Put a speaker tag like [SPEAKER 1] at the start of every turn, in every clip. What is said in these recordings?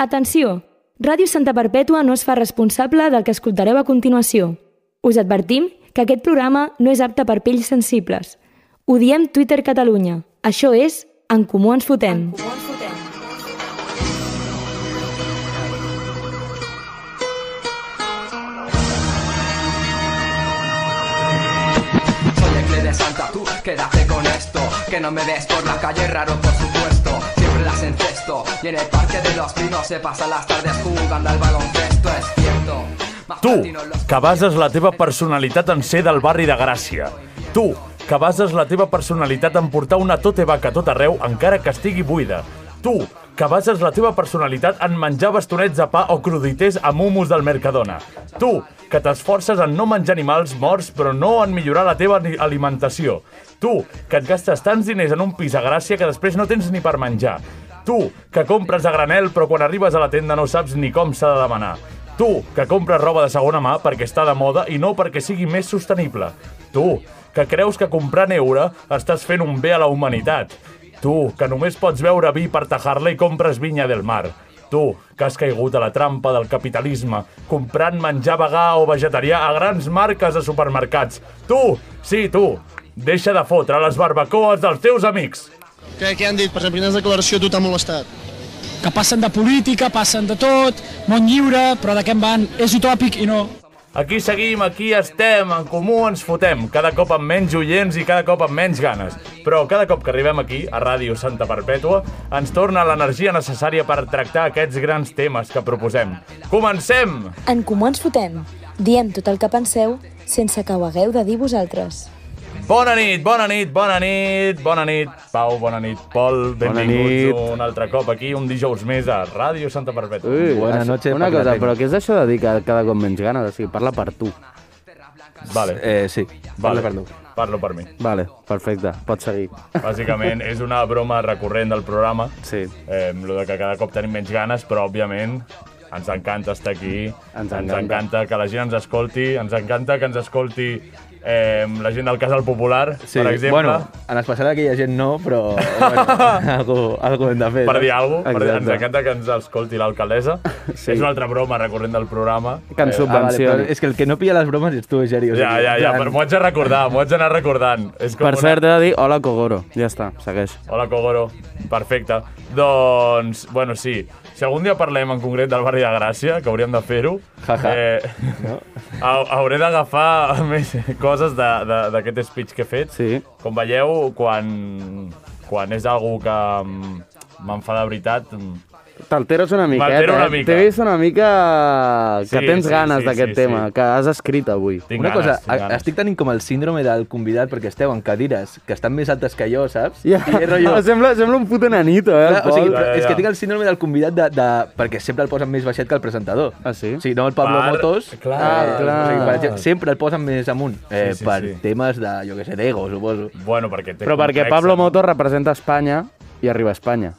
[SPEAKER 1] Atenció! Ràdio Santa Perpètua no es fa responsable del que escoltareu a continuació. Us advertim que aquest programa no és apte per pells sensibles. Ho diem Twitter Catalunya. Això és En Comú Ens Fotem.
[SPEAKER 2] Soy el Cle de Santa, tú quédate con esto. Que no me ves por la calle, raro por supuesto. Siempre las encesto. Y en el parque de los pinos se pasan las tardes jugando al baloncesto, es cierto. Más
[SPEAKER 3] Tu,
[SPEAKER 2] platinos los-
[SPEAKER 3] que bases la teva personalitat en ser del barri de Gràcia. Tu, que bases la teva personalitat en portar una tote vaca a tot arreu, encara que estigui buida. Tu, que bases la teva personalitat en menjar bastonets de pa o cruditers amb humus del Mercadona. Tu, que t'esforces en no menjar animals morts però no en millorar la teva ni- alimentació. Tu, que et gastes tants diners en un pis a Gràcia que després no tens ni per menjar. Tu, que compres a granel però quan arribes a la tenda no saps ni com s'ha de demanar. Tu, que compres roba de segona mà perquè està de moda i no perquè sigui més sostenible. Tu, que creus que comprant euro estàs fent un bé a la humanitat. Tu, que només pots beure vi per tajar-la i compres vinya del mar. Tu, que has caigut a la trampa del capitalisme, comprant menjar vegà o vegetarià a grans marques de supermercats. Tu, sí, tu, deixa de fotre les barbacoes dels teus amics.
[SPEAKER 4] Què, què han dit? Per exemple, quines declaració a tu t'ha molestat?
[SPEAKER 5] que passen de política, passen de tot, món lliure, però de què en van? És utòpic i no.
[SPEAKER 3] Aquí seguim, aquí estem, en comú ens fotem, cada cop amb menys oients i cada cop amb menys ganes. Però cada cop que arribem aquí, a Ràdio Santa Perpètua, ens torna l'energia necessària per tractar aquests grans temes que proposem. Comencem!
[SPEAKER 6] En Comú Ens Fotem. Diem tot el que penseu sense que ho hagueu de dir vosaltres.
[SPEAKER 3] Bona nit, bona nit, bona nit, bona nit, Pau, bona nit, Pol, benvinguts
[SPEAKER 7] nit.
[SPEAKER 3] un altre cop aquí, un dijous més a Ràdio Santa Perpètua.
[SPEAKER 7] Ui,
[SPEAKER 8] Buenas
[SPEAKER 7] això-
[SPEAKER 8] noches,
[SPEAKER 7] Una cosa,
[SPEAKER 8] Paquetén.
[SPEAKER 7] però què és això de dir que cada cop menys ganes? O sigui, parla per tu.
[SPEAKER 3] Vale,
[SPEAKER 7] Eh, sí.
[SPEAKER 3] vale,
[SPEAKER 7] Parla per tu.
[SPEAKER 3] parlo per mi.
[SPEAKER 7] Vale, perfecte. Pots seguir.
[SPEAKER 3] Bàsicament, és una broma recurrent del programa,
[SPEAKER 7] Sí.
[SPEAKER 3] eh, lo de que cada cop tenim menys ganes, però òbviament ens encanta estar aquí, ens encanta, ens
[SPEAKER 7] encanta.
[SPEAKER 3] encanta que la gent ens escolti, ens encanta que ens escolti eh, la gent del Casal Popular,
[SPEAKER 8] Sí,
[SPEAKER 3] per exemple,
[SPEAKER 8] bueno, en especial aquella gent no, però bueno, algú, algú hem de fer.
[SPEAKER 3] per dir
[SPEAKER 8] saps?
[SPEAKER 3] alguna cosa,
[SPEAKER 8] Exacte.
[SPEAKER 3] ens encanta que ens escolti l'alcaldessa.
[SPEAKER 8] Sí.
[SPEAKER 3] És una altra broma recurrent del programa.
[SPEAKER 7] Que ens subvencioni.
[SPEAKER 8] Ah, però és que el que no pilla les bromes ets tu, Geri. o
[SPEAKER 3] Eh, Ja,
[SPEAKER 8] sigui,
[SPEAKER 3] ja, ja,
[SPEAKER 8] en
[SPEAKER 3] però
[SPEAKER 8] plan,
[SPEAKER 3] m'ho haig de recordar, m'ho haig d'anar recordant. És com
[SPEAKER 7] Per cert, he de dir hola Kogoro. Ja està, segueix.
[SPEAKER 3] Hola, Kogoro. Perfecte. Doncs, bueno, sí. Si algun dia parlem en concret del barri de Gràcia, que hauríem de fer-ho,
[SPEAKER 8] Ja, ja.
[SPEAKER 3] no? hauré d'agafar més coses de- de- d'aquest speech que he fet.
[SPEAKER 7] Sí.
[SPEAKER 3] Com veieu, quan, quan és algú que mm, m'enfada de veritat, mm,
[SPEAKER 7] T'alteres una miqueta,
[SPEAKER 3] M'altero una
[SPEAKER 7] eh?
[SPEAKER 3] mica.
[SPEAKER 7] T'he vist una mica que
[SPEAKER 3] Sí,
[SPEAKER 7] tens
[SPEAKER 3] sí,
[SPEAKER 7] ganes
[SPEAKER 3] sí,
[SPEAKER 7] d'aquest
[SPEAKER 3] sí,
[SPEAKER 7] tema,
[SPEAKER 3] sí.
[SPEAKER 7] que has escrit avui.
[SPEAKER 3] tinc
[SPEAKER 8] Una
[SPEAKER 3] ganes,
[SPEAKER 8] cosa,
[SPEAKER 3] tinc ganes.
[SPEAKER 8] estic tenint com el síndrome del convidat perquè esteu en cadires que estan més altes que jo, saps?
[SPEAKER 7] Ja,
[SPEAKER 8] I és rotllo...
[SPEAKER 7] sembla, sembla un puto nanito, eh, el
[SPEAKER 8] Clar, o sigui,
[SPEAKER 7] Pol?
[SPEAKER 3] Ja, ja,
[SPEAKER 8] és
[SPEAKER 3] ja.
[SPEAKER 8] que tinc el síndrome del convidat de, de... perquè sempre el posen més baixet que el presentador.
[SPEAKER 7] Ah, sí?
[SPEAKER 8] O sigui, no el Pablo
[SPEAKER 3] Per-
[SPEAKER 8] Motos. Eh,
[SPEAKER 3] clar,
[SPEAKER 7] Ah, clar.
[SPEAKER 8] O sigui, per exemple, sempre el posen més amunt, eh,
[SPEAKER 3] Sí, sí,
[SPEAKER 8] per
[SPEAKER 3] sí.
[SPEAKER 8] temes de, jo què sé, d'ego, suposo.
[SPEAKER 3] Bueno, perquè té eh?
[SPEAKER 7] Però perquè
[SPEAKER 3] complexa,
[SPEAKER 7] Pablo
[SPEAKER 3] no?
[SPEAKER 7] Motos representa Espanya i arriba a Espanya.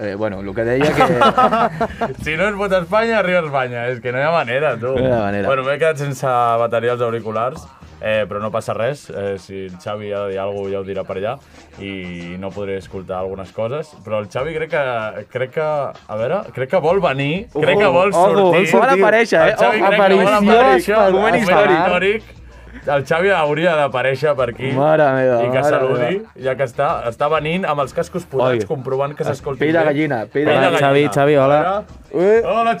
[SPEAKER 8] Eh, bueno, el que deia que...
[SPEAKER 3] Si no es vota a Espanya, arriba a Espanya. És que no hi ha manera, tu.
[SPEAKER 8] No hi ha manera.
[SPEAKER 3] Bueno, m'he quedat sense bateria als auriculars, eh, però no passa res. Eh, si el Xavi ha de dir alguna cosa, ja ho dirà per allà i no podré escoltar algunes coses. Però el Xavi crec que... Crec que a veure, crec que vol venir, crec que vol
[SPEAKER 7] ojo,
[SPEAKER 3] sortir.
[SPEAKER 7] vol sortir.
[SPEAKER 8] Vol aparèixer, eh?
[SPEAKER 3] El Xavi
[SPEAKER 7] Ojo,
[SPEAKER 3] crec que vol
[SPEAKER 7] aparició,
[SPEAKER 3] aparèixer.
[SPEAKER 7] espa-
[SPEAKER 3] Moment
[SPEAKER 7] històric.
[SPEAKER 3] històric. El Xavi hauria d'aparèixer per aquí
[SPEAKER 8] Mare meva,
[SPEAKER 3] i que
[SPEAKER 8] mare
[SPEAKER 3] saludi,
[SPEAKER 8] meva.
[SPEAKER 3] ja que està, està venint amb els cascos posats,
[SPEAKER 7] Oi.
[SPEAKER 3] comprovant que s'escolti
[SPEAKER 8] Pell de
[SPEAKER 3] bé.
[SPEAKER 8] gallina, pell de
[SPEAKER 3] Pell
[SPEAKER 8] gallina.
[SPEAKER 7] Xavi, Xavi, hola.
[SPEAKER 8] Eh.
[SPEAKER 3] Hola, hola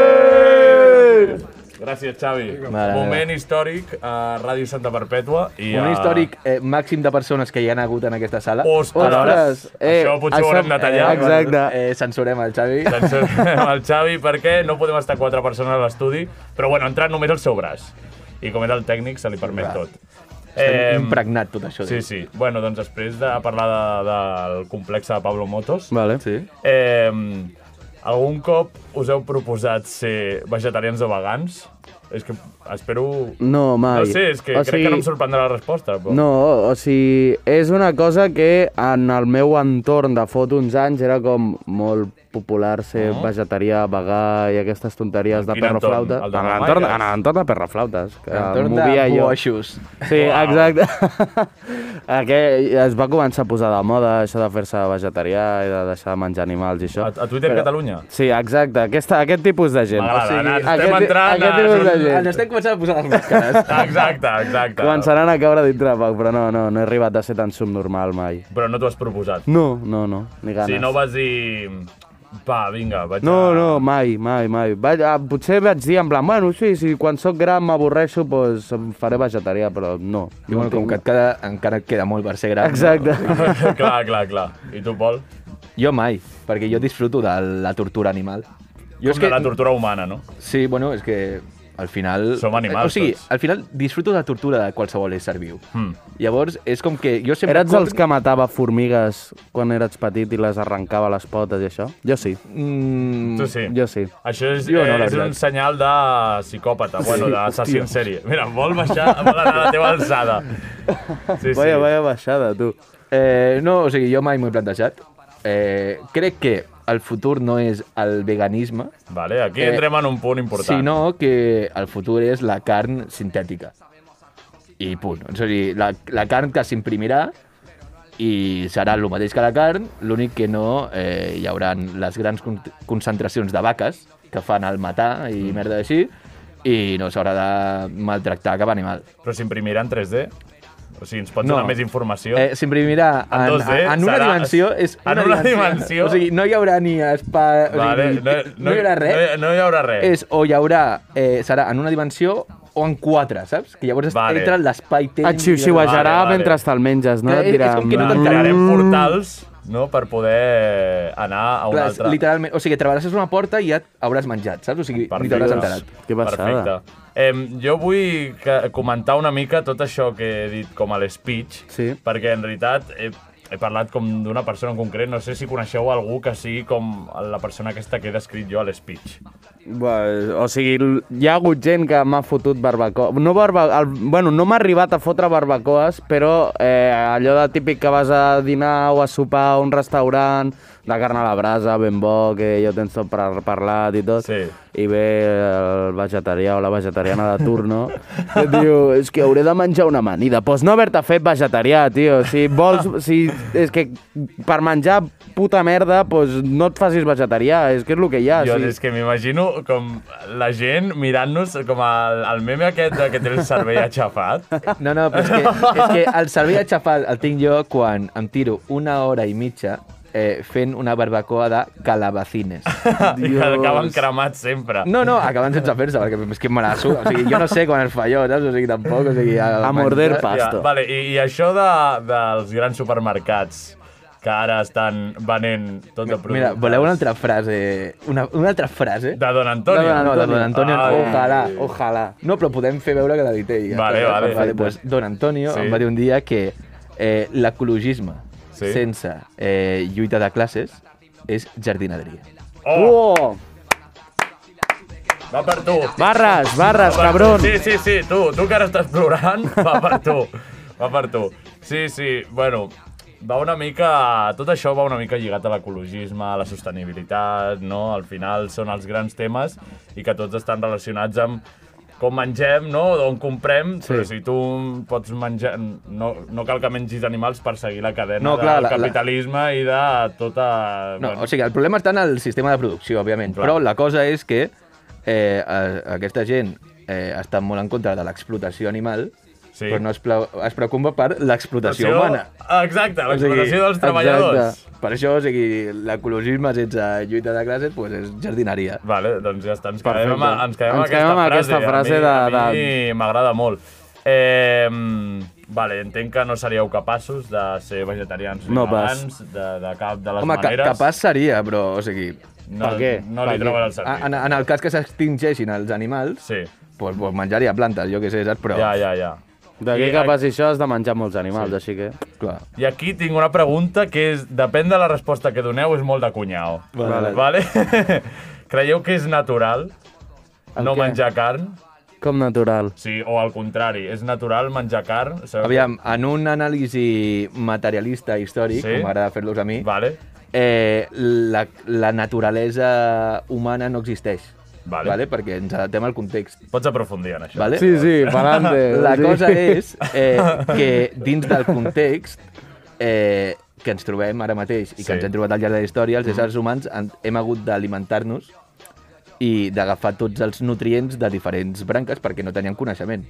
[SPEAKER 3] Xavi! Gràcies, Xavi.
[SPEAKER 8] Eh. Mare
[SPEAKER 3] Moment històric a Ràdio Santa Perpètua. I
[SPEAKER 8] Un
[SPEAKER 3] a...
[SPEAKER 8] històric eh, màxim de persones que hi han hagut en aquesta sala.
[SPEAKER 3] Ostres!
[SPEAKER 7] Ostres, eh,
[SPEAKER 3] això potser
[SPEAKER 7] això-
[SPEAKER 3] ho haurem de tallar.
[SPEAKER 7] eh, exacte.
[SPEAKER 8] Eh, censurem el Xavi.
[SPEAKER 3] Censurem el Xavi perquè no podem estar quatre persones a l'estudi, però bueno, ha entrat només el seu braç. I com és el tècnic, se li permet
[SPEAKER 8] Clar.
[SPEAKER 3] tot.
[SPEAKER 8] Eh,
[SPEAKER 3] Em,
[SPEAKER 8] impregnat tot això.
[SPEAKER 3] Sí, sí. Bueno, doncs després de parlar de, del complex de Pablo Motos,
[SPEAKER 7] Vale.
[SPEAKER 8] Sí.
[SPEAKER 3] Eh, algun cop us heu proposat ser vegetarians o vegans? És que espero...
[SPEAKER 7] No, mai.
[SPEAKER 3] No sé, és que
[SPEAKER 7] O
[SPEAKER 3] crec
[SPEAKER 7] sigui-
[SPEAKER 3] que no em sorprendrà la resposta. Però...
[SPEAKER 7] No, o sigui, és una cosa que en el meu entorn de fot uns anys era com molt popular ser no. vegetarià, vegà i aquestes tonteries de
[SPEAKER 3] quin
[SPEAKER 7] perro
[SPEAKER 3] entorn?
[SPEAKER 7] flauta.
[SPEAKER 3] El de
[SPEAKER 7] En l'entorn-
[SPEAKER 3] mamaires?
[SPEAKER 7] En l'entorn de perro flautes. Que
[SPEAKER 8] Entorn
[SPEAKER 7] movia
[SPEAKER 8] de
[SPEAKER 7] jo.
[SPEAKER 8] boixos.
[SPEAKER 7] Sí, wow. exacte. Aquell, es va començar a posar de moda això de fer-se vegetarià i de deixar de menjar animals i això.
[SPEAKER 3] A, a Twitter Catalunya.
[SPEAKER 7] Sí, exacte. Aquesta, aquest tipus de gent.
[SPEAKER 3] M'agrada,
[SPEAKER 7] sigui,
[SPEAKER 3] Nat, estem
[SPEAKER 7] aquest,
[SPEAKER 3] entrant
[SPEAKER 7] Aquest
[SPEAKER 3] en
[SPEAKER 7] tipus de
[SPEAKER 3] un-
[SPEAKER 7] gent.
[SPEAKER 8] Ens estem Ah, començant a posar les màscares.
[SPEAKER 3] Exacte, exacte.
[SPEAKER 7] Començaran a caure dintre de poc, però no, no, no he arribat a ser tan subnormal mai.
[SPEAKER 3] Però no t'ho has proposat.
[SPEAKER 7] No, no, no, ni ganes.
[SPEAKER 3] Si no vas dir... Va, vinga, vaig
[SPEAKER 7] No,
[SPEAKER 3] a...
[SPEAKER 7] no, mai, mai, mai. Vaig, ah, potser vaig dir en plan, bueno, sí, si quan sóc gran m'avorreixo, doncs em faré vegetarià, però no.
[SPEAKER 8] I bueno, com que et queda, encara et queda molt per ser gran.
[SPEAKER 7] Exacte.
[SPEAKER 3] clar, clar, clar. I tu, Pol?
[SPEAKER 8] Jo mai, perquè jo disfruto de la tortura animal. Jo
[SPEAKER 3] Jo Com de la tortura humana, no?
[SPEAKER 8] Sí, bueno, és que al final...
[SPEAKER 3] Som animals,
[SPEAKER 8] O sigui,
[SPEAKER 3] tots.
[SPEAKER 8] al final disfruto de la tortura de qualsevol ésser viu.
[SPEAKER 3] Mm.
[SPEAKER 8] Llavors, és com que jo sempre...
[SPEAKER 7] Eres dels que matava formigues quan eres petit i les arrencava a les potes i això? Jo sí,
[SPEAKER 8] Mm,
[SPEAKER 3] Tu sí.
[SPEAKER 7] jo sí.
[SPEAKER 3] Això és, eh,
[SPEAKER 8] Jo no, la
[SPEAKER 3] és un
[SPEAKER 8] veritat.
[SPEAKER 3] senyal de psicòpata, bueno, d'assassí en sèrie. Mira, vol baixar, vol anar a la teva alçada. Sí, sí.
[SPEAKER 7] Vaya, vaya baixada, tu.
[SPEAKER 8] eh, no, o sigui, jo mai m'ho he plantejat. Eh, crec que el futur no és el veganisme,
[SPEAKER 3] Vale, aquí
[SPEAKER 8] Eh,
[SPEAKER 3] entrem en un punt important.
[SPEAKER 8] sinó que el futur és la carn sintètica. I punt. O sigui, la, la carn que s'imprimirà i serà el mateix que la carn, l'únic que no eh, hi haurà les grans con concentracions de vaques que fan al matar
[SPEAKER 3] Mm.
[SPEAKER 8] i merda així, i no s'haurà de maltractar cap animal.
[SPEAKER 3] Però s'imprimirà en 3D? O sigui, ens pots
[SPEAKER 8] No.
[SPEAKER 3] donar més informació?
[SPEAKER 8] Eh, S'imprimirà
[SPEAKER 3] En
[SPEAKER 8] en, en,
[SPEAKER 3] 2D,
[SPEAKER 8] en una
[SPEAKER 3] serà-
[SPEAKER 8] dimensió. És
[SPEAKER 3] en una dimensió.
[SPEAKER 8] O sigui, no hi haurà ni espai...
[SPEAKER 3] vale,
[SPEAKER 8] o sigui, no, no, hi haurà res.
[SPEAKER 3] No, no hi haurà res.
[SPEAKER 8] és o hi haurà, eh, serà en una dimensió o en quatre, saps? Que llavors
[SPEAKER 3] Vale.
[SPEAKER 8] vale. entra l'espai-temps...
[SPEAKER 7] Et
[SPEAKER 3] Vale,
[SPEAKER 7] xiu-xiuejarà
[SPEAKER 3] vale.
[SPEAKER 7] mentre te'l menges, no?
[SPEAKER 8] Clar,
[SPEAKER 7] Et
[SPEAKER 8] és-
[SPEAKER 7] dirà...
[SPEAKER 8] és com que no
[SPEAKER 3] Clar,
[SPEAKER 8] t'enteres.
[SPEAKER 3] Crearem portals no, per poder anar a Ah, un
[SPEAKER 8] Clar, és
[SPEAKER 3] altre.
[SPEAKER 8] literalment, o sigui, travessaràs una porta i ja hauràs menjat, saps? O sigui, ni t'hauràs
[SPEAKER 3] Perfecte.
[SPEAKER 8] enterat.
[SPEAKER 7] Que passada.
[SPEAKER 3] Perfecte. Eh, jo vull que, comentar una mica tot això que he dit com a l'speech,
[SPEAKER 7] Sí.
[SPEAKER 3] perquè en realitat he, he parlat com d'una persona en concret, no sé si coneixeu algú que sigui com la persona aquesta que he descrit jo a l'speech.
[SPEAKER 7] Bueno, o sigui, l- hi ha hagut gent que m'ha fotut barbacoa. No, barba... el... bueno, no m'ha arribat a fotre barbacoes, però eh, allò de típic que vas a dinar o a sopar a un restaurant, de carn a la brasa, ben bo, que jo tens tot per parlat i tot,
[SPEAKER 3] Sí.
[SPEAKER 7] i ve el vegetarià o la vegetariana de turno i et diu, és que hauré de menjar una amanida. Doncs pues no haver-te fet vegetarià, tio. Si vols... Si, és que per menjar puta merda, pues no et facis vegetarià. És que és el que hi
[SPEAKER 8] Ah,
[SPEAKER 7] ha.
[SPEAKER 3] jo
[SPEAKER 7] sí.
[SPEAKER 3] és que m'imagino com la gent mirant-nos com el, el meme aquest de que té el cervell aixafat.
[SPEAKER 8] No, no, però és que, és que el servei aixafat el tinc jo quan em tiro una hora i mitja eh, fent una barbacoa de calabacines.
[SPEAKER 3] I que acaben cremats sempre.
[SPEAKER 8] No, no, acabant sense fer-se, perquè és que me la suda. O sigui, jo no sé quan es fa allò, saps? O sigui, tampoc, o sigui... A,
[SPEAKER 7] A morder
[SPEAKER 8] menjar-
[SPEAKER 7] pa.
[SPEAKER 3] Ja,
[SPEAKER 7] Pasto.
[SPEAKER 3] vale, i, I això de, dels grans supermercats que ara estan venent tot de productes...
[SPEAKER 8] Mira, voleu una altra frase? Una, una altra frase?
[SPEAKER 3] De Don Antonio.
[SPEAKER 8] No, no, no, de Don Antonio.
[SPEAKER 3] Ah,
[SPEAKER 8] no. Ojalá,
[SPEAKER 3] sí.
[SPEAKER 8] ojalá. No, però podem fer veure que la dit ell.
[SPEAKER 3] Vale, vale.
[SPEAKER 8] vale pues, Don Antonio
[SPEAKER 3] Sí.
[SPEAKER 8] sí. em va dir un dia que eh, l'ecologisme
[SPEAKER 3] Sí.
[SPEAKER 8] sí. sense eh, lluita de classes és jardineria.
[SPEAKER 3] Oh,
[SPEAKER 7] Oh!
[SPEAKER 3] va per tu.
[SPEAKER 7] Barres, barres,
[SPEAKER 3] Va per
[SPEAKER 7] cabrón.
[SPEAKER 3] tu. Sí, sí, sí, tu, tu que ara estàs plorant, va per tu. Va per tu. Sí, sí, bueno, va una mica... Tot això va una mica lligat a l'ecologisme, a la sostenibilitat, no? Al final són els grans temes i que tots estan relacionats amb com mengem, no? d'on comprem, sí. però si tu pots menjar... No, no cal que mengis animals per seguir la cadena
[SPEAKER 8] No, clar,
[SPEAKER 3] del
[SPEAKER 8] la- la-
[SPEAKER 3] capitalisme i de tota...
[SPEAKER 8] No, o sigui, el problema està en el sistema de producció, òbviament.
[SPEAKER 3] Clar.
[SPEAKER 8] Clar. Però la cosa és que eh, a- aquesta gent eh, està molt en contra de l'explotació animal,
[SPEAKER 3] Sí.
[SPEAKER 8] sí. però no es, plau- es preocupa per l'explotació
[SPEAKER 3] Explotació-
[SPEAKER 8] humana.
[SPEAKER 3] Exacte,
[SPEAKER 8] O sigui,
[SPEAKER 3] l'explotació dels
[SPEAKER 8] exacte.
[SPEAKER 3] treballadors.
[SPEAKER 8] Per això, o sigui, l'ecologisme sense lluita de classes pues, és jardineria.
[SPEAKER 3] Vale, doncs ja està, ens quedem, amb,
[SPEAKER 7] Perfecte.
[SPEAKER 3] ens quedem,
[SPEAKER 7] Ens quedem
[SPEAKER 3] amb
[SPEAKER 7] amb
[SPEAKER 3] aquesta,
[SPEAKER 7] aquesta
[SPEAKER 3] frase.
[SPEAKER 7] frase
[SPEAKER 3] a mi,
[SPEAKER 7] de-
[SPEAKER 3] A mi m'agrada molt. Eh, vale, entenc que no seríeu capaços de ser vegetarians ni
[SPEAKER 7] No
[SPEAKER 3] vegans, de, de cap de les
[SPEAKER 8] Home, ca
[SPEAKER 3] maneres.
[SPEAKER 8] capaç seria, però, o sigui,
[SPEAKER 3] No,
[SPEAKER 7] Per què?
[SPEAKER 3] no li
[SPEAKER 7] Per
[SPEAKER 3] trobes
[SPEAKER 7] què? Ah,
[SPEAKER 3] el
[SPEAKER 8] a-
[SPEAKER 3] sentit.
[SPEAKER 8] en, en el cas que s'extingeixin els animals,
[SPEAKER 3] Sí,
[SPEAKER 8] pues, pues menjaria plantes, jo què sé, saps? Però,
[SPEAKER 3] ja, ja, ja.
[SPEAKER 7] D'aquí
[SPEAKER 3] I
[SPEAKER 7] que
[SPEAKER 3] a-
[SPEAKER 7] passi això has de menjar molts animals, sí. així que...
[SPEAKER 8] clar.
[SPEAKER 3] I aquí tinc una pregunta que és, depèn de la resposta que doneu, és molt de cunyau.
[SPEAKER 8] Vale.
[SPEAKER 3] vale? Creieu que és natural
[SPEAKER 7] El
[SPEAKER 3] no
[SPEAKER 7] què?
[SPEAKER 3] menjar carn?
[SPEAKER 7] Com natural.
[SPEAKER 3] Sí, o al contrari, és natural menjar carn? Sabeu
[SPEAKER 8] Aviam, en un anàlisi materialista històric,
[SPEAKER 3] Sí?
[SPEAKER 8] sí? com m'agrada fer-los a mi,
[SPEAKER 3] Vale.
[SPEAKER 8] eh, la, la naturalesa humana no existeix.
[SPEAKER 3] Vale.
[SPEAKER 8] vale? Perquè ens adaptem al context.
[SPEAKER 3] Pots aprofundir en això.
[SPEAKER 8] Vale?
[SPEAKER 7] Sí, sí, pa'lante.
[SPEAKER 8] La
[SPEAKER 7] sí.
[SPEAKER 8] cosa és eh, que dins del context eh, que ens trobem ara mateix i que
[SPEAKER 3] Sí.
[SPEAKER 8] sí. ens hem trobat al llarg de la història, els éssers humans han, hem hagut d'alimentar-nos i d'agafar tots els nutrients de diferents branques perquè no teníem coneixement.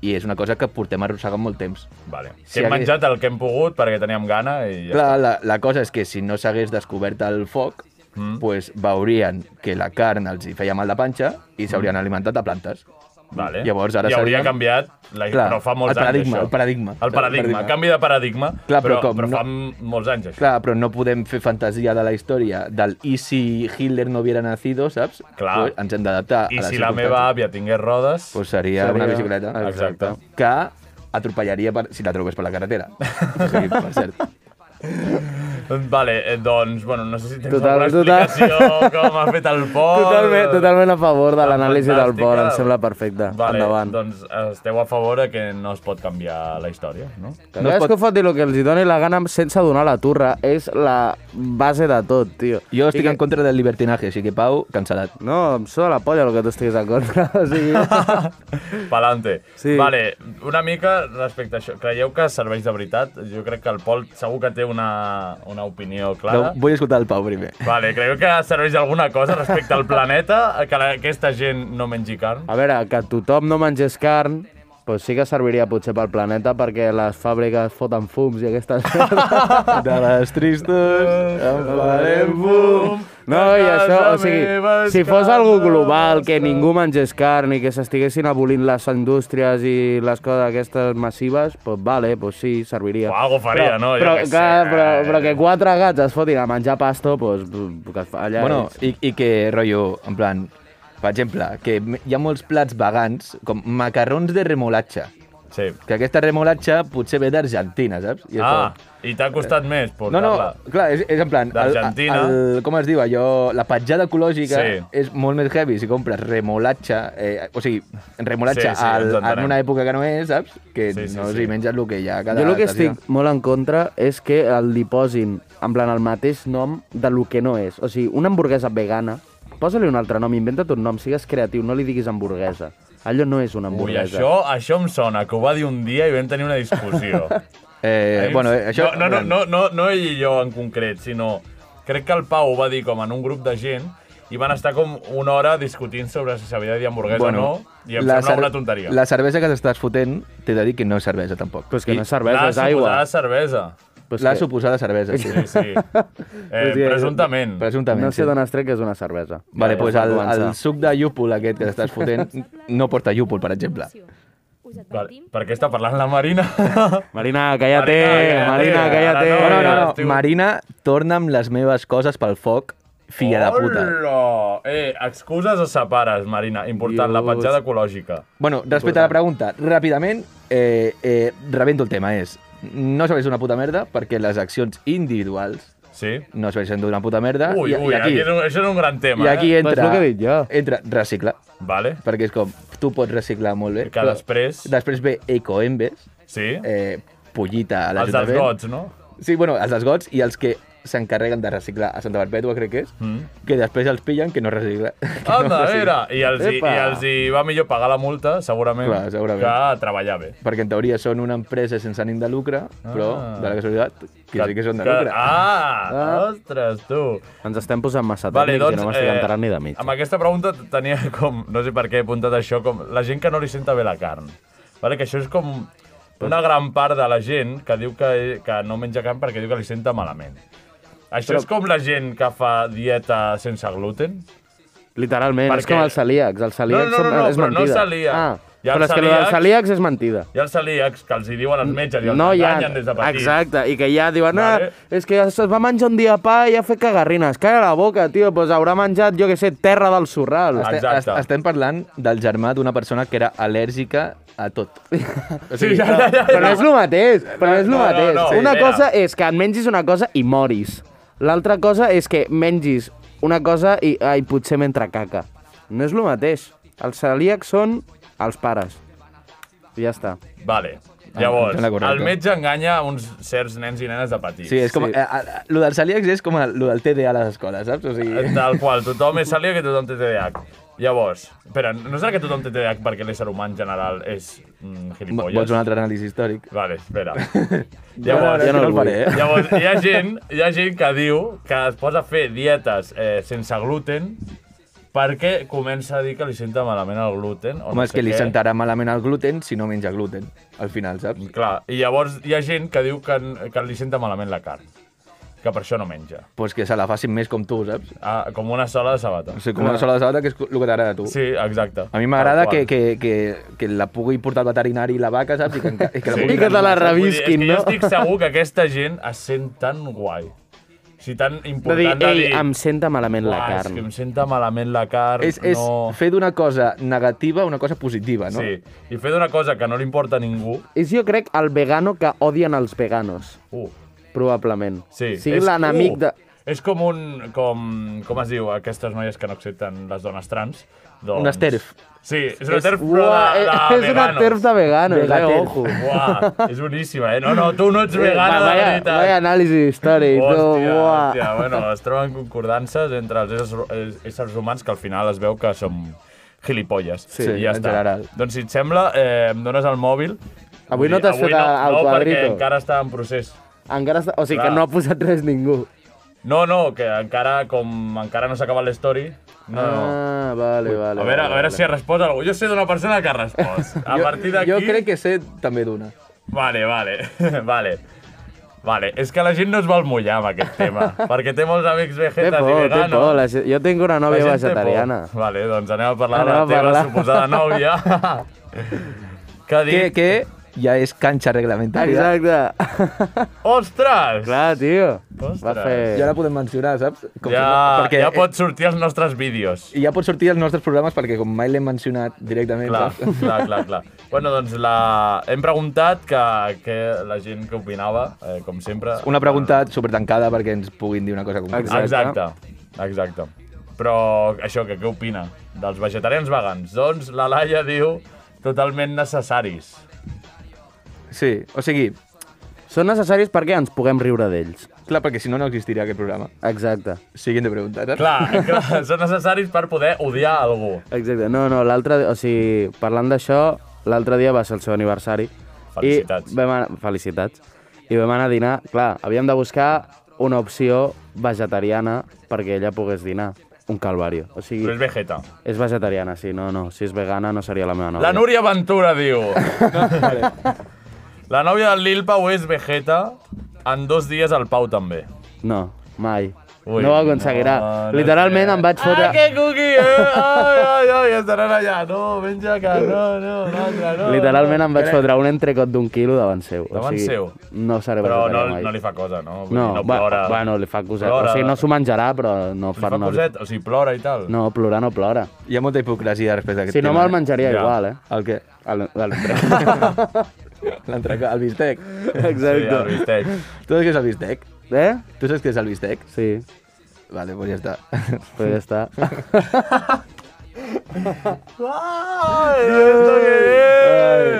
[SPEAKER 8] I és una cosa que portem arrossegant molt temps.
[SPEAKER 3] Vale. Sí,
[SPEAKER 8] Si
[SPEAKER 3] hem
[SPEAKER 8] hagués-
[SPEAKER 3] menjat el que hem pogut perquè teníem gana i ja
[SPEAKER 8] Clar, la, la cosa és que si no s'hagués descobert el foc, mm. pues veurien que la carn els hi feia mal de panxa i s'haurien alimentat de plantes.
[SPEAKER 3] Vale.
[SPEAKER 8] Llavors, ara
[SPEAKER 3] I hauria
[SPEAKER 8] seríem-
[SPEAKER 3] canviat, la...
[SPEAKER 8] Clar,
[SPEAKER 3] però fa molts
[SPEAKER 8] el paradigma,
[SPEAKER 3] anys, això.
[SPEAKER 8] el paradigma.
[SPEAKER 3] El paradigma,
[SPEAKER 8] Paradigma.
[SPEAKER 3] canvi de paradigma,
[SPEAKER 8] Clar, però com
[SPEAKER 3] però
[SPEAKER 8] no-
[SPEAKER 3] fa m- molts anys, això.
[SPEAKER 8] Clar, però no podem fer fantasia de la història del i si Hitler no hubiera nacido, saps?
[SPEAKER 3] Clar.
[SPEAKER 8] Pues ens hem d'adaptar
[SPEAKER 3] I
[SPEAKER 8] a les
[SPEAKER 3] si la meva
[SPEAKER 8] circumstàncies.
[SPEAKER 3] àvia tingués rodes...
[SPEAKER 8] Pues seria,
[SPEAKER 7] Seria-
[SPEAKER 8] una bicicleta.
[SPEAKER 3] Exacte.
[SPEAKER 8] Que atropellaria per, si la trobés per la carretera. o sigui, per cert.
[SPEAKER 3] Vale, eh, doncs, bueno, no sé si tens
[SPEAKER 7] Total-
[SPEAKER 3] alguna
[SPEAKER 7] total-
[SPEAKER 3] explicació com ha fet el Pol.
[SPEAKER 7] Totalment, totalment a favor de l'anàlisi del
[SPEAKER 3] Oh. Fantàstica.
[SPEAKER 7] port, em sembla perfecte.
[SPEAKER 3] Vale,
[SPEAKER 7] Endavant.
[SPEAKER 3] doncs esteu a favor de que no es pot canviar la història, no?
[SPEAKER 7] No es pot... que foti el que els hi doni la gana sense donar la turra. És la base de tot, tio.
[SPEAKER 8] Jo
[SPEAKER 7] I
[SPEAKER 8] estic
[SPEAKER 7] que-
[SPEAKER 8] en contra del libertinatge, així que Pau, cancel·lat.
[SPEAKER 7] No, em suda la polla el que tu estiguis en contra. O sigui...
[SPEAKER 3] Pa'lante.
[SPEAKER 7] Sí.
[SPEAKER 3] Vale, una mica respecte a això. Creieu que serveix de veritat? Jo crec que el Pol segur que té una, una opinió
[SPEAKER 8] Però
[SPEAKER 3] clara.
[SPEAKER 8] vull escoltar el Pau primer.
[SPEAKER 3] Vale, creieu que serveix alguna cosa respecte al planeta? Que la- aquesta gent no mengi carn?
[SPEAKER 7] A veure, que tothom no mengés carn, doncs sí que serviria potser pel planeta perquè les fàbriques foten fums i aquestes... de les tristos en farem fum. No, i això, o sigui, si fos algú global, que ningú mengés carn i que s'estiguessin abolint les indústries i les coses aquestes massives, doncs vale, doncs sí, serviria.
[SPEAKER 3] O algo faria,
[SPEAKER 7] però,
[SPEAKER 3] no? Jo
[SPEAKER 7] Però,
[SPEAKER 3] què sé. eh.
[SPEAKER 7] clar, però, però que quatre gats es fotin a menjar pasto, doncs... que es fa Allà
[SPEAKER 8] Bueno, i, i que, rotllo, en plan, per exemple, que m- hi ha molts plats vegans, com macarrons de remolatxa,
[SPEAKER 3] Sí.
[SPEAKER 8] que aquesta remolatxa potser ve d'Argentina, saps? I és
[SPEAKER 3] Ah,
[SPEAKER 8] com-
[SPEAKER 3] i t'ha
[SPEAKER 7] Eh.
[SPEAKER 3] costat més
[SPEAKER 8] No, no,
[SPEAKER 3] portar-la.
[SPEAKER 8] clar, és, és en plan... el-
[SPEAKER 3] D'Argentina.
[SPEAKER 8] el- Com es diu allò? La petjada ecològica
[SPEAKER 3] Sí.
[SPEAKER 8] sí. és molt més heavy si compres remolatxa, eh, o sigui,
[SPEAKER 3] Sí,
[SPEAKER 8] remolatxa
[SPEAKER 3] sí, ens
[SPEAKER 8] al,
[SPEAKER 3] entenem.
[SPEAKER 8] en una època que no és, saps? Que
[SPEAKER 3] Sí, sí,
[SPEAKER 8] no
[SPEAKER 3] sí.
[SPEAKER 8] s'hi menges el que hi ha a cada
[SPEAKER 7] jo el que
[SPEAKER 8] estació.
[SPEAKER 7] estic molt en contra és que el li posin, en plan, el mateix nom de lo que no és. O sigui, una hamburguesa vegana, posa-li un altre nom, inventa't un nom, sigues creatiu, no li diguis hamburguesa. Allò no és una
[SPEAKER 3] Ui,
[SPEAKER 7] hamburguesa.
[SPEAKER 3] això, això em sona, que ho va dir un dia i vam tenir una discussió.
[SPEAKER 8] Eh, bueno, eh, això...
[SPEAKER 3] No, no, no, no, no, no ell i jo en concret, sinó... Crec que el Pau ho va dir com en un grup de gent i van estar com una hora discutint sobre si s'havia de dir hamburguesa bueno, o no, i em
[SPEAKER 8] la
[SPEAKER 3] sembla
[SPEAKER 8] cer-
[SPEAKER 3] una tonteria.
[SPEAKER 8] La cervesa que t'estàs fotent, t'he de dir que no és cervesa, tampoc.
[SPEAKER 7] Però és que
[SPEAKER 8] I
[SPEAKER 7] no és cervesa,
[SPEAKER 3] la
[SPEAKER 7] és aigua.
[SPEAKER 3] suposada cervesa.
[SPEAKER 7] Però és
[SPEAKER 8] La
[SPEAKER 7] que
[SPEAKER 8] suposada cervesa, sí.
[SPEAKER 3] Sí, sí. Eh,
[SPEAKER 7] que-
[SPEAKER 3] presumptament.
[SPEAKER 8] Presumptament,
[SPEAKER 7] No sé
[SPEAKER 8] sí.
[SPEAKER 7] d'on has tret que és una cervesa.
[SPEAKER 8] Vale, doncs
[SPEAKER 7] per
[SPEAKER 8] el, el
[SPEAKER 7] començar.
[SPEAKER 8] suc de llúpol aquest que t'estàs fotent no porta llúpol, per exemple.
[SPEAKER 3] Vale. Per què està parlant la Marina?
[SPEAKER 7] Marina, calla-te,
[SPEAKER 3] Marina,
[SPEAKER 7] Marina,
[SPEAKER 3] calla-te.
[SPEAKER 7] calla-te.
[SPEAKER 3] Ara
[SPEAKER 8] No, no, no,
[SPEAKER 3] estiu.
[SPEAKER 8] no. Marina, torna amb les meves coses pel foc, filla de puta.
[SPEAKER 3] Hola! Eh, excuses o separes, Marina? Important, la
[SPEAKER 7] Dios.
[SPEAKER 3] petjada ecològica.
[SPEAKER 8] Bueno, respecte a la pregunta, ràpidament, eh, eh, rebento el tema, és no serveix d'una puta merda perquè les accions individuals
[SPEAKER 3] Sí?
[SPEAKER 8] no serveixen d'una puta merda
[SPEAKER 3] Ui,
[SPEAKER 8] i,
[SPEAKER 3] ui,
[SPEAKER 8] i aquí,
[SPEAKER 3] és un, això és un gran tema,
[SPEAKER 8] i aquí
[SPEAKER 3] eh?
[SPEAKER 7] Però és
[SPEAKER 8] entra,
[SPEAKER 7] lo que he dit jo.
[SPEAKER 8] entra recicla,
[SPEAKER 3] Vale.
[SPEAKER 8] perquè és com, tu pots reciclar molt bé,
[SPEAKER 3] Que després-
[SPEAKER 8] després ve Ecoembes,
[SPEAKER 3] Sí?
[SPEAKER 8] eh, pollita a
[SPEAKER 3] Els dels
[SPEAKER 8] l'Ajuntament.
[SPEAKER 3] gots, no?
[SPEAKER 8] Sí, bueno, els dels gots i els que s'encarreguen de reciclar a Santa Perpètua, crec que és, mm. que després els pillen que no recicla. Que
[SPEAKER 3] Anda,
[SPEAKER 8] no
[SPEAKER 3] no,
[SPEAKER 8] recicla.
[SPEAKER 3] mira! I els, hi,
[SPEAKER 7] Epa.
[SPEAKER 3] I els hi va millor pagar la multa, segurament,
[SPEAKER 8] Clar, segurament.
[SPEAKER 3] que treballar bé.
[SPEAKER 8] Perquè en teoria són una empresa sense ànim de lucre, però
[SPEAKER 3] Ah.
[SPEAKER 8] de la casualitat que sí que són de lucre.
[SPEAKER 3] Ah, ostres, tu.
[SPEAKER 7] Ens estem posant massa
[SPEAKER 3] Vale,
[SPEAKER 7] tècnics
[SPEAKER 3] doncs,
[SPEAKER 7] i no m'estic
[SPEAKER 3] eh,
[SPEAKER 7] enterant ni de mig.
[SPEAKER 3] Amb aquesta pregunta tenia com, no sé per què he apuntat això, com la gent que no li senta bé la carn. Vale, que això és com una gran part de la gent que diu que, que no menja carn perquè diu que li senta malament. Això Però... és com la gent que fa dieta sense gluten?
[SPEAKER 7] Literalment,
[SPEAKER 3] Per
[SPEAKER 7] és com
[SPEAKER 3] què?
[SPEAKER 7] els celíacs. Els celíacs
[SPEAKER 3] No, no, no,
[SPEAKER 7] són-
[SPEAKER 3] no,
[SPEAKER 7] és
[SPEAKER 3] però no
[SPEAKER 7] mentida.
[SPEAKER 3] celíac.
[SPEAKER 7] Ah,
[SPEAKER 3] Hi ha
[SPEAKER 7] però és que el
[SPEAKER 3] celíacs-
[SPEAKER 7] dels celíacs és mentida.
[SPEAKER 3] Hi ha els celíacs que els hi diuen els metges i els
[SPEAKER 7] no hi ha,
[SPEAKER 3] enganyen des de petits.
[SPEAKER 7] exacte, i que ja diuen,
[SPEAKER 3] Vale.
[SPEAKER 7] vale. ah, és que es va menjar un dia pa i ha fet cagarrines, calla la boca, tio, doncs haurà menjat, jo que sé, terra del sorral.
[SPEAKER 3] Ah,
[SPEAKER 8] Este-
[SPEAKER 3] exacte.
[SPEAKER 8] es- Estem parlant del germà d'una persona que era al·lèrgica a tot. O
[SPEAKER 3] Sí, ja, ja, ja,
[SPEAKER 7] Però no és el mateix, però no és el
[SPEAKER 3] no, no,
[SPEAKER 7] mateix.
[SPEAKER 3] no, sí,
[SPEAKER 7] una
[SPEAKER 3] mira.
[SPEAKER 7] cosa és que et mengis una cosa i moris. L'altra cosa és que mengis una cosa i, ai, potser mentre caca. No és el mateix. Els celíacs són als pares. I ja està.
[SPEAKER 3] Vale.
[SPEAKER 8] Ah,
[SPEAKER 3] Llavors,
[SPEAKER 8] em sembla correcte.
[SPEAKER 3] el metge enganya uns certs nens i nenes de petits.
[SPEAKER 8] Sí, és com...
[SPEAKER 7] Sí.
[SPEAKER 8] Sí. Eh, eh, lo dels celíacs és com el, lo del TDA a les escoles, saps? O sigui...
[SPEAKER 3] Tal eh, qual, tothom és celíac i tothom té TDAH. Llavors, espera, no serà que tothom té TDAH perquè l'ésser humà en general és mm, gilipolles?
[SPEAKER 8] Vols un altre anàlisi històric?
[SPEAKER 3] Vale, espera.
[SPEAKER 8] ja no
[SPEAKER 7] el
[SPEAKER 8] el
[SPEAKER 7] vull.
[SPEAKER 8] faré, eh?
[SPEAKER 3] Llavors, hi ha gent, hi ha gent que diu que es posa a fer dietes eh, sense gluten perquè comença a dir que li senta malament el gluten. O
[SPEAKER 8] Home,
[SPEAKER 3] no
[SPEAKER 8] és
[SPEAKER 3] sé
[SPEAKER 8] que li
[SPEAKER 3] què.
[SPEAKER 8] sentarà malament el gluten si no menja gluten, al final, saps?
[SPEAKER 3] Clar, i llavors hi ha gent que diu que, que li senta malament la carn, que per això no menja.
[SPEAKER 8] Pues que se la facin més com tu, saps?
[SPEAKER 3] Ah, com una sola de sabata.
[SPEAKER 8] O sigui, com una sola de sabata, que és el que t'agrada a tu.
[SPEAKER 3] Sí, exacte.
[SPEAKER 8] A mi m'agrada
[SPEAKER 3] Tal
[SPEAKER 8] que,
[SPEAKER 3] qual.
[SPEAKER 8] que, que, que la pugui portar al veterinari la vaca, saps? I que, enca- i que,
[SPEAKER 3] Sí.
[SPEAKER 8] la pugui
[SPEAKER 7] I que te la
[SPEAKER 8] reanimar, saps?
[SPEAKER 3] Vull dir, és
[SPEAKER 7] revisquin,
[SPEAKER 3] que Jo
[SPEAKER 7] no?
[SPEAKER 3] estic segur que aquesta gent es sent tan guai. O sigui, tan
[SPEAKER 7] De
[SPEAKER 3] important
[SPEAKER 7] dir, ei,
[SPEAKER 3] de dir
[SPEAKER 7] em senta malament la
[SPEAKER 3] "Uah, És
[SPEAKER 7] carn.
[SPEAKER 3] que em senta malament la carn.
[SPEAKER 8] És, és
[SPEAKER 3] no...
[SPEAKER 8] fer d'una cosa negativa una cosa positiva, no?
[SPEAKER 3] Sí, i fer d'una cosa que no li importa a ningú...
[SPEAKER 7] És jo crec el vegano que odien els veganos,
[SPEAKER 3] Uh,
[SPEAKER 7] probablement.
[SPEAKER 3] sí.
[SPEAKER 7] Sigui
[SPEAKER 3] és- uh,
[SPEAKER 7] l'enemic de...
[SPEAKER 3] És com un... Com, com es diu? Aquestes noies que no accepten les dones trans. Doncs...
[SPEAKER 8] Una TERF.
[SPEAKER 3] Sí, és una TERF, però
[SPEAKER 7] Ua,
[SPEAKER 3] de, de
[SPEAKER 7] eh, és una
[SPEAKER 3] veganos.
[SPEAKER 7] terf de veganos, eh,
[SPEAKER 8] Vegaterf.
[SPEAKER 7] ojo.
[SPEAKER 3] Uah, és boníssima, eh? No, no, tu no ets vegana, de
[SPEAKER 7] vaya,
[SPEAKER 3] veritat.
[SPEAKER 7] vaya anàlisi històric, tu,
[SPEAKER 3] Hòstia,
[SPEAKER 7] buah.
[SPEAKER 3] hòstia, bueno, es troben concordances entre els éssers, eh, éssers humans que al final es veu que som gilipolles.
[SPEAKER 8] Sí,
[SPEAKER 3] I ja
[SPEAKER 8] en
[SPEAKER 3] està.
[SPEAKER 8] general.
[SPEAKER 3] Doncs si et sembla, eh, em dones el mòbil.
[SPEAKER 7] Avui no
[SPEAKER 3] Vull dir,
[SPEAKER 7] t'has fet
[SPEAKER 3] avui
[SPEAKER 7] el
[SPEAKER 3] no,
[SPEAKER 7] quadrito.
[SPEAKER 3] perquè encara està en procés.
[SPEAKER 7] Encara està... O sigui
[SPEAKER 3] Clar.
[SPEAKER 7] que no ha posat res ningú.
[SPEAKER 3] No, no, que encara, com encara no s'ha acabat l'story, no, no.
[SPEAKER 7] Ah, vale, vale.
[SPEAKER 3] A veure, a
[SPEAKER 7] vale,
[SPEAKER 3] veure
[SPEAKER 7] vale.
[SPEAKER 3] si ha respost algú. Jo sé d'una persona que ha respost. A partir d'aquí...
[SPEAKER 8] Jo crec que sé també d'una.
[SPEAKER 3] Vale, vale, vale. Vale, és que la gent no es vol mullar amb aquest tema, perquè té molts amics
[SPEAKER 7] Té
[SPEAKER 3] vegetes i
[SPEAKER 7] por, té
[SPEAKER 3] veganos.
[SPEAKER 7] por. La... gent- Jo tinc una
[SPEAKER 3] La
[SPEAKER 7] nòvia
[SPEAKER 3] gent té por.
[SPEAKER 7] vegetariana.
[SPEAKER 3] Vale, doncs anem a parlar
[SPEAKER 7] Anem
[SPEAKER 3] de
[SPEAKER 7] a
[SPEAKER 3] la teva
[SPEAKER 7] parlar.
[SPEAKER 3] suposada nòvia. que ha
[SPEAKER 8] Que,
[SPEAKER 3] dit...
[SPEAKER 8] que ja és canxa reglamentària.
[SPEAKER 7] Exacte.
[SPEAKER 3] Ostres!
[SPEAKER 7] Clar, tio. Va
[SPEAKER 3] Ostres.
[SPEAKER 8] Ja
[SPEAKER 7] fer...
[SPEAKER 8] la podem mencionar, saps? Com
[SPEAKER 3] ja,
[SPEAKER 8] si-
[SPEAKER 3] perquè... ja pot sortir als nostres vídeos.
[SPEAKER 8] I ja pot sortir als nostres programes perquè com mai l'hem mencionat directament,
[SPEAKER 3] Clar,
[SPEAKER 8] saps?
[SPEAKER 3] clar, clar, clar. Bueno, doncs la... hem preguntat que, que la gent que opinava, eh, com sempre...
[SPEAKER 8] Una pregunta supertancada perquè ens puguin dir una cosa concreta.
[SPEAKER 3] Exacte, exacte. Però això, que què opina dels vegetarians vegans? Doncs la Laia diu totalment necessaris.
[SPEAKER 8] Sí, o sigui,
[SPEAKER 7] Són necessaris perquè ens puguem riure d'ells.
[SPEAKER 8] clar, perquè si no, no existiria aquest programa.
[SPEAKER 7] Exacte.
[SPEAKER 8] Siguiente pregunta, saps?
[SPEAKER 3] Clar, clar, són necessaris per poder odiar algú.
[SPEAKER 7] Exacte. No, no, l'altre... O sigui, parlant d'això, l'altre dia va ser el seu aniversari.
[SPEAKER 3] Felicitats.
[SPEAKER 7] I vam anar... Felicitats. I vam anar a dinar. Clar, havíem de buscar una opció vegetariana perquè ella pogués dinar. Un calvario. O sigui,
[SPEAKER 3] Però és vegeta.
[SPEAKER 7] és vegetariana, sí. No, no, si és vegana no seria la meva nòvia.
[SPEAKER 3] La Núria Ventura diu... La nòvia del Lil Pau és vegeta, en dos dies el Pau també.
[SPEAKER 7] No, mai.
[SPEAKER 3] Ui,
[SPEAKER 7] Ui, no ho aconseguirà.
[SPEAKER 3] no, no
[SPEAKER 7] No, Literalment
[SPEAKER 3] sé.
[SPEAKER 7] em vaig fotre...
[SPEAKER 3] Ah, que cuqui, eh? Ai, ai, ai, estaran allà. No, menja que no, no, l'altre, no.
[SPEAKER 7] Literalment em vaig fotre un entrecot d'un quilo davant seu.
[SPEAKER 3] Davant
[SPEAKER 7] o sigui,
[SPEAKER 3] seu?
[SPEAKER 7] No seré
[SPEAKER 3] Però no,
[SPEAKER 7] vegetarià mai.
[SPEAKER 3] no li fa cosa, no? Vull
[SPEAKER 7] no,
[SPEAKER 3] dir, no
[SPEAKER 7] va-
[SPEAKER 3] plora.
[SPEAKER 7] bueno, li fa coset.
[SPEAKER 3] Plora.
[SPEAKER 7] O sigui, no s'ho menjarà, però no
[SPEAKER 3] Li fa
[SPEAKER 7] no,
[SPEAKER 3] coset, o sigui, plora i tal.
[SPEAKER 7] no, plorar no plora.
[SPEAKER 8] Hi ha molta hipocresia respecte a aquest
[SPEAKER 7] Si no,
[SPEAKER 8] tema.
[SPEAKER 7] me'l menjaria
[SPEAKER 3] Ja.
[SPEAKER 7] igual, eh?
[SPEAKER 8] El què?
[SPEAKER 7] El, el...
[SPEAKER 8] L'entrecà, el bistec.
[SPEAKER 3] Sí, el
[SPEAKER 7] Exacte.
[SPEAKER 3] bistec.
[SPEAKER 8] Tu saps què és el bistec?
[SPEAKER 7] eh?
[SPEAKER 8] Tu saps què és el bistec?
[SPEAKER 7] Sí,
[SPEAKER 8] Vale, doncs ja està.
[SPEAKER 7] però ja està.
[SPEAKER 3] Ai, esto que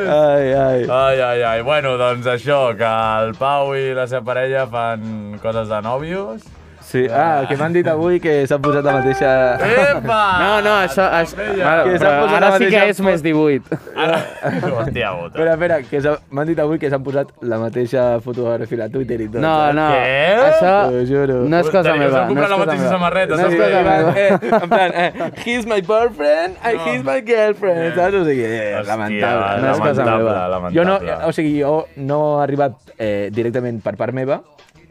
[SPEAKER 3] és?
[SPEAKER 8] Ai, ai.
[SPEAKER 3] Ai, ai, ai. Bueno, doncs això, que el Pau i la seva parella fan coses de nòvios.
[SPEAKER 8] Sí, ah, que m'han dit avui que s'ha posat la mateixa...
[SPEAKER 3] Epa!
[SPEAKER 7] No, no,
[SPEAKER 3] Ah,
[SPEAKER 7] això... això
[SPEAKER 3] Vale.
[SPEAKER 8] Que s'ha
[SPEAKER 7] però
[SPEAKER 8] posat
[SPEAKER 7] ara
[SPEAKER 8] la
[SPEAKER 7] sí que
[SPEAKER 8] mateixa
[SPEAKER 7] és més 18.
[SPEAKER 3] Ara... Hòstia, puta.
[SPEAKER 8] Espera, espera, que s'ha- m'han dit avui que s'han posat la mateixa fotografia a Twitter i tot. eh?
[SPEAKER 7] No, no.
[SPEAKER 3] Què?
[SPEAKER 7] Això
[SPEAKER 8] T'ho juro.
[SPEAKER 7] no és cosa
[SPEAKER 3] Teniu, us
[SPEAKER 7] meva.
[SPEAKER 3] han comprat
[SPEAKER 7] No és
[SPEAKER 3] la
[SPEAKER 7] cosa
[SPEAKER 3] mateixa
[SPEAKER 7] meva.
[SPEAKER 3] samarreta,
[SPEAKER 7] No és
[SPEAKER 3] saps?
[SPEAKER 7] cosa
[SPEAKER 8] Eh,
[SPEAKER 7] meva.
[SPEAKER 8] eh, en plan, eh, he's my boyfriend and he's my girlfriend, saps? O sigui, eh,
[SPEAKER 3] Hòstia,
[SPEAKER 8] lamentable.
[SPEAKER 7] no és
[SPEAKER 3] Ah,
[SPEAKER 7] cosa
[SPEAKER 3] lamentable,
[SPEAKER 7] meva.
[SPEAKER 3] lamentable.
[SPEAKER 8] Jo no, o sigui, jo no he arribat eh, directament per part meva,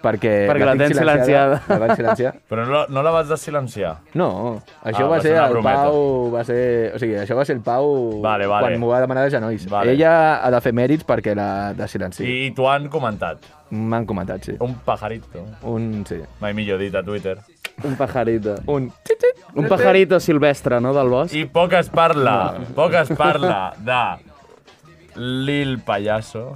[SPEAKER 8] perquè...
[SPEAKER 7] Perquè la
[SPEAKER 8] tinc
[SPEAKER 7] tens silenciada.
[SPEAKER 8] La vaig silenciar.
[SPEAKER 3] Però no, no la vas desilenciar.
[SPEAKER 8] No, això
[SPEAKER 3] Ah,
[SPEAKER 8] va,
[SPEAKER 3] va ser
[SPEAKER 8] ser
[SPEAKER 3] una
[SPEAKER 8] el
[SPEAKER 3] brometa.
[SPEAKER 8] Pau, va ser, o sigui, això va ser el Pau
[SPEAKER 3] Vale, vale.
[SPEAKER 8] quan m'ho va demanar de genolls.
[SPEAKER 3] Vale.
[SPEAKER 8] Ella ha de fer mèrits perquè la de silenci.
[SPEAKER 3] I t'ho han comentat.
[SPEAKER 8] M'han comentat, sí.
[SPEAKER 3] Un pajarito.
[SPEAKER 8] Un, sí.
[SPEAKER 3] Mai millor dit a Twitter.
[SPEAKER 7] Un pajarito.
[SPEAKER 8] Un... tit, tit.
[SPEAKER 7] Un pajarito silvestre, no, del bosc?
[SPEAKER 3] I poc es parla, poc es parla de Lil Payaso.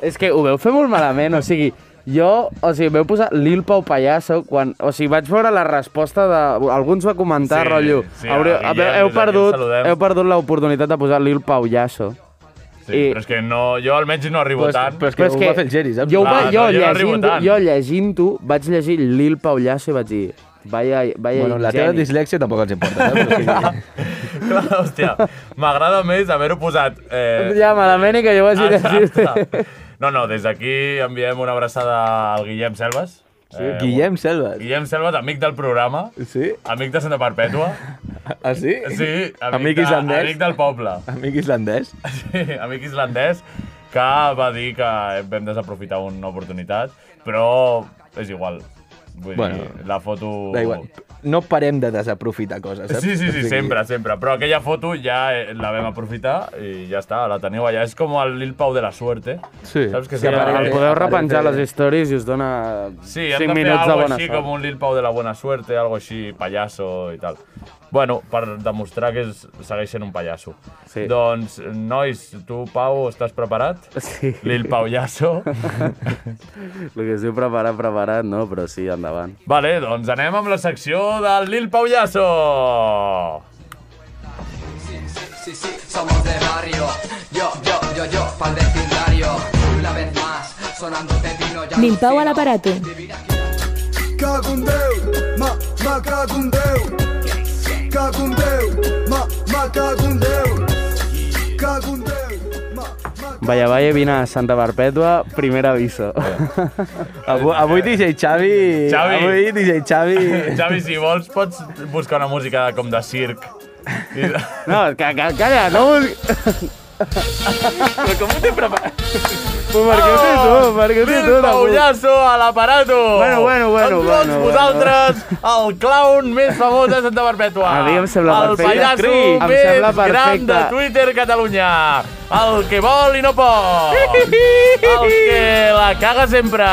[SPEAKER 7] És que ho veu fer molt malament, o sigui, Jo, o sigui, veu posar Lil Pau Pallasso quan... O sigui, vaig veure la resposta de... Alguns va comentar,
[SPEAKER 3] Sí,
[SPEAKER 7] rotllo...
[SPEAKER 3] sí, a
[SPEAKER 7] haureu, heu,
[SPEAKER 3] Guillem,
[SPEAKER 7] heu,
[SPEAKER 3] des d'aquí el
[SPEAKER 7] perdut,
[SPEAKER 3] saludem."
[SPEAKER 7] heu perdut l'oportunitat de posar Lil Pau Pallasso.
[SPEAKER 3] Sí,
[SPEAKER 7] I-
[SPEAKER 3] però és que no, jo almenys no arribo
[SPEAKER 8] Però és-
[SPEAKER 3] tant.
[SPEAKER 8] però és que- ho va fer el Geri, saps?
[SPEAKER 7] Jo, ho
[SPEAKER 3] Clar,
[SPEAKER 7] va,
[SPEAKER 3] Ah, no,
[SPEAKER 7] jo,
[SPEAKER 3] jo no arribo
[SPEAKER 7] llegint,
[SPEAKER 3] tant.
[SPEAKER 7] jo llegint-ho, vaig llegir Lil Pau Pallasso i vaig dir... Vaya, vaya
[SPEAKER 8] Bueno, la teva
[SPEAKER 7] geni.
[SPEAKER 8] dislexia tampoc els importa, eh, saps? O
[SPEAKER 3] Eh,
[SPEAKER 8] sigui,
[SPEAKER 3] Clar, hòstia, m'agrada més haver-ho posat... Eh...
[SPEAKER 7] Ja, malament i que jo
[SPEAKER 8] Ah,
[SPEAKER 7] vaig
[SPEAKER 3] Exacte.
[SPEAKER 7] llegir.
[SPEAKER 3] No, no, des d'aquí enviem una abraçada al Guillem Selves. Eh,
[SPEAKER 8] Guillem Selves.
[SPEAKER 3] Guillem Selves, amic del programa,
[SPEAKER 8] Sí?
[SPEAKER 3] amic de Santa Perpètua.
[SPEAKER 8] Ah, sí?
[SPEAKER 3] Sí, amic,
[SPEAKER 8] Amic
[SPEAKER 3] de, Oh.
[SPEAKER 8] islandès.
[SPEAKER 3] amic del poble.
[SPEAKER 8] Amic islandès.
[SPEAKER 3] Sí, amic islandès que va dir que vam desaprofitar una oportunitat, però és igual. Vull bueno,
[SPEAKER 8] Bueno,
[SPEAKER 3] dir, la foto...
[SPEAKER 8] Da igual. No parem de desaprofitar coses, saps?
[SPEAKER 3] Sí, sí,
[SPEAKER 8] O
[SPEAKER 3] sí,
[SPEAKER 8] sigui,
[SPEAKER 3] sempre, sempre. Però aquella foto ja eh, la vam aprofitar i ja està, la teniu allà. És com el Lil Pau de la suerte.
[SPEAKER 8] Sí.
[SPEAKER 3] Saps que sí,
[SPEAKER 8] Sí, apareix-
[SPEAKER 7] El podeu repenjar a les stories i us dona
[SPEAKER 3] Sí,
[SPEAKER 7] 5
[SPEAKER 3] hem de fer
[SPEAKER 7] minuts de
[SPEAKER 3] algo
[SPEAKER 7] bona
[SPEAKER 3] així
[SPEAKER 7] sort.
[SPEAKER 3] com un Lil Pau de la buena suerte, algo així, pallasso i tal. Bueno, per demostrar que és, segueix sent un pallasso.
[SPEAKER 7] Sí.
[SPEAKER 3] Doncs, nois, tu, Pau, estàs preparat?
[SPEAKER 7] Sí.
[SPEAKER 3] Lil Paullasso.
[SPEAKER 7] El que es diu preparar, preparat, no, però sí, endavant.
[SPEAKER 3] vale, doncs anem amb la secció del Lil Paullasso.
[SPEAKER 2] Sí, sí, somos de barrio. Yo, yo, yo, yo, pa'l vecindario. Una vez más, sonando pepino ya.
[SPEAKER 1] Lil Pau a l'aparato.
[SPEAKER 9] Cago en Déu, ma, ma cago en Déu. Cago en Déu, ma, ma cago en Déu. Cago en Déu, ma, ma
[SPEAKER 7] Vaya, vaya, vine a Santa Perpètua, primer aviso.
[SPEAKER 8] Avui, avui DJ Xavi...
[SPEAKER 3] Xavi.
[SPEAKER 8] Avui DJ Xavi...
[SPEAKER 3] Xavi, si vols, pots buscar una música com de circ. I-
[SPEAKER 7] No, ca, ca, calla, no vull... Però com ho t'he preparat? Ho marqueu-te tu, ho marqueu-te tu.
[SPEAKER 3] Lil
[SPEAKER 7] la puta.
[SPEAKER 3] Paullasso Oh, a l'aparato.
[SPEAKER 7] Bueno, bueno, bueno,
[SPEAKER 3] Amb
[SPEAKER 7] bueno,
[SPEAKER 3] tots
[SPEAKER 7] bueno.
[SPEAKER 3] vosaltres, el clown més famós de Santa Perpètua.
[SPEAKER 7] A mi em sembla
[SPEAKER 3] el
[SPEAKER 7] perfecte.
[SPEAKER 3] pallasso
[SPEAKER 7] Em
[SPEAKER 3] més
[SPEAKER 7] sembla
[SPEAKER 3] gran de
[SPEAKER 7] perfecte.
[SPEAKER 3] Twitter Catalunya. El que vol i no pot. El que la caga sempre.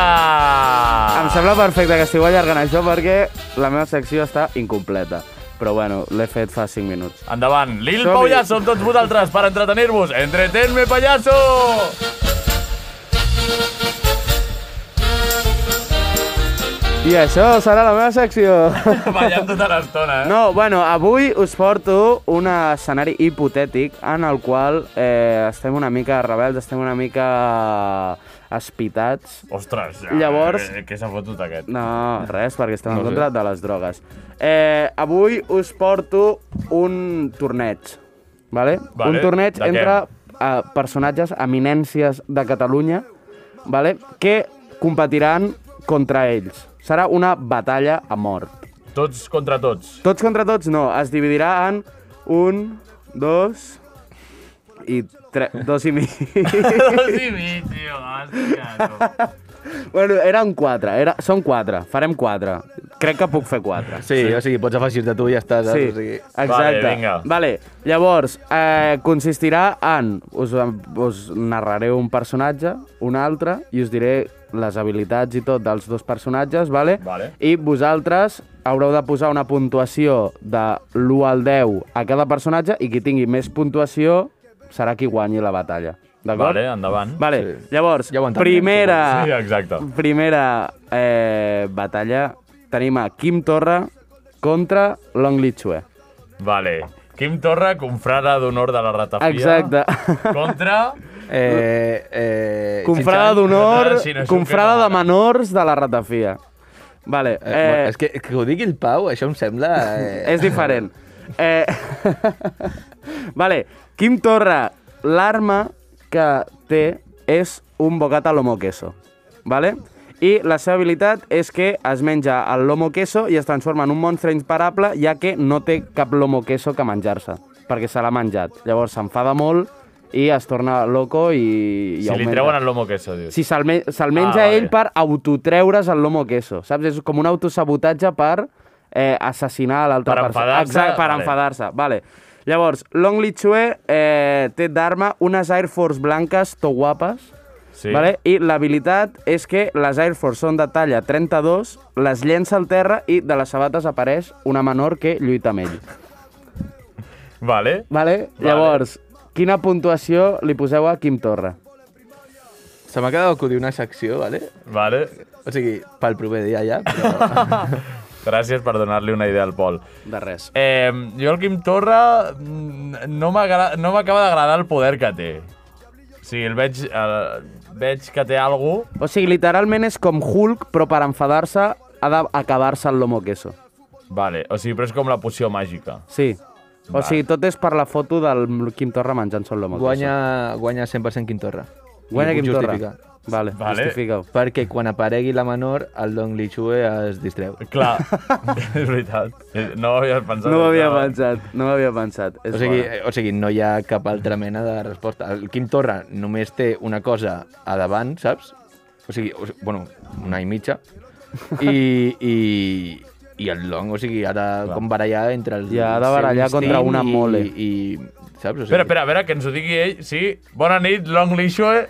[SPEAKER 7] Em sembla perfecte que estigueu allargant això perquè la meva secció està incompleta. Però bueno, l'he fet fa 5 minuts.
[SPEAKER 3] Endavant, Lil
[SPEAKER 7] Som-hi.
[SPEAKER 3] Paullasso amb tots vosaltres per entretenir-vos. Entretenme, pallasso!
[SPEAKER 7] I això serà la meva secció.
[SPEAKER 3] Ballant tota l'estona, eh?
[SPEAKER 7] No, bueno, avui us porto un escenari hipotètic en el qual eh, estem una mica rebels, estem una mica eh, espitats.
[SPEAKER 3] Ostres, ja,
[SPEAKER 7] Llavors-
[SPEAKER 3] eh, què s'ha fotut aquest?
[SPEAKER 7] No, res, perquè estem en
[SPEAKER 8] No sé.
[SPEAKER 7] contra de les drogues. Eh, avui us porto un torneig, vale?
[SPEAKER 3] Vale,
[SPEAKER 7] Un torneig
[SPEAKER 3] de què?
[SPEAKER 7] entre eh, personatges, eminències de Catalunya, vale? que competiran contra ells. Serà una batalla a mort.
[SPEAKER 3] Tots contra tots.
[SPEAKER 7] Tots contra tots no, es dividirà en un, dos i tres, dos i mig.
[SPEAKER 3] Sí, mi, tio, hòstia, tu.
[SPEAKER 7] bueno, eren quatre, era, són quatre, farem quatre. Crec que puc fer quatre.
[SPEAKER 8] Sí, o sigui, pots afegir-te tu i ja està, saps?
[SPEAKER 7] Sí,
[SPEAKER 8] O sigui,
[SPEAKER 7] exacte.
[SPEAKER 3] Vale, vinga.
[SPEAKER 7] Vale, llavors, eh, consistirà en... Us, us narraré un personatge, un altre, i us diré les habilitats i tot dels dos personatges, vale?
[SPEAKER 3] Vale.
[SPEAKER 7] I vosaltres haureu de posar una puntuació de l'1 al 10 a cada personatge i qui tingui més puntuació serà qui guanyi la batalla. D'acord?
[SPEAKER 3] Vale, endavant.
[SPEAKER 7] Vale, llavors,
[SPEAKER 8] Ja ho entenem,
[SPEAKER 7] primera...
[SPEAKER 3] Sí, exacte.
[SPEAKER 7] Primera eh, batalla tenim a Quim Torra contra Long Li Chue.
[SPEAKER 3] Vale. Quim Torra, confrare d'honor de la ratafia.
[SPEAKER 7] Exacte.
[SPEAKER 3] Contra...
[SPEAKER 8] Eh, eh,
[SPEAKER 7] Confrada
[SPEAKER 3] Ah,
[SPEAKER 7] d'honor,
[SPEAKER 3] Sí, no, això
[SPEAKER 7] confrada
[SPEAKER 3] que no.
[SPEAKER 7] de menors de la ratafia. Vale,
[SPEAKER 8] Eh, bueno,
[SPEAKER 7] eh,
[SPEAKER 8] és que, que ho digui el Pau, això em sembla... Eh,
[SPEAKER 7] és diferent. Eh, vale, Quim Torra, l'arma que té és un bocata lomo queso, vale? I la seva habilitat és que es menja el lomo queso i es transforma en un monstre imparable, ja que no té cap lomo queso que menjar-se, perquè se l'ha menjat. Llavors s'enfada molt i es torna loco i... i
[SPEAKER 3] Si li
[SPEAKER 7] augmenta.
[SPEAKER 3] treuen el lomo queso, dius.
[SPEAKER 7] Si se'l me se menja
[SPEAKER 3] Ah,
[SPEAKER 7] ah,
[SPEAKER 3] vale.
[SPEAKER 7] ell per autotreure's el lomo queso, saps? És com un autosabotatge per eh, assassinar l'altra
[SPEAKER 3] Per
[SPEAKER 7] persona.
[SPEAKER 3] enfadar-se,
[SPEAKER 7] Exacte, per
[SPEAKER 3] vale.
[SPEAKER 7] enfadar-se. Vale. Llavors, Long Li Chue eh, té d'arma unes Air Force blanques to guapes,
[SPEAKER 3] Sí.
[SPEAKER 7] vale? i l'habilitat és que les Air Force són de talla 32, les llença al terra i de les sabates apareix una menor que lluita amb ell.
[SPEAKER 3] Vale.
[SPEAKER 7] Vale? Llavors, quina puntuació li poseu a Quim Torra?
[SPEAKER 8] Se m'ha quedat acudir una secció, vale?
[SPEAKER 3] Vale?
[SPEAKER 8] O sigui, pel proper dia ja, però...
[SPEAKER 3] Gràcies per donar-li una idea al Pol.
[SPEAKER 10] De res.
[SPEAKER 3] Eh, jo el Quim Torra mm, no m'agra- no m'acaba d'agradar el poder que té. O sigui, el veig, el, veig que té algú.
[SPEAKER 7] O sigui, literalment és com Hulk, però per enfadar-se ha d'acabar-se el lomo queso.
[SPEAKER 3] Vale, o sigui, però és com la poció màgica.
[SPEAKER 7] Sí. O
[SPEAKER 3] Vale.
[SPEAKER 7] sigui, tot és per la foto del Quim Torra menjant-se el lomo
[SPEAKER 8] Guanya, guanya 100% Quintorra.
[SPEAKER 7] queso. Guanya
[SPEAKER 8] I
[SPEAKER 7] Quim Torra.
[SPEAKER 8] justifica.
[SPEAKER 7] Vale,
[SPEAKER 3] Vale.
[SPEAKER 7] vale. justifica-ho.
[SPEAKER 8] Perquè quan aparegui la menor, el Don Lichue es distreu.
[SPEAKER 3] Clar, és veritat. Eh, No ho havies pensat.
[SPEAKER 7] No ho havia
[SPEAKER 3] Estava-
[SPEAKER 7] pensat, no ho havia pensat. És
[SPEAKER 8] O sigui,
[SPEAKER 7] bona.
[SPEAKER 8] eh, o sigui, no hi ha cap altra mena de resposta. El Quim Torra només té una cosa a davant, saps? O sigui, o, sigui, bueno, una i mitja. I, i, i el Long, o sigui, ha de com barallar entre els...
[SPEAKER 7] I ha de
[SPEAKER 8] el seu
[SPEAKER 7] barallar contra
[SPEAKER 8] instint
[SPEAKER 7] una
[SPEAKER 8] i-
[SPEAKER 7] mole.
[SPEAKER 8] I, i, saps? O sigui,
[SPEAKER 3] Espera, espera, a veure, que ens ho digui ell. Sí, bona nit, Long eh? Li Shue.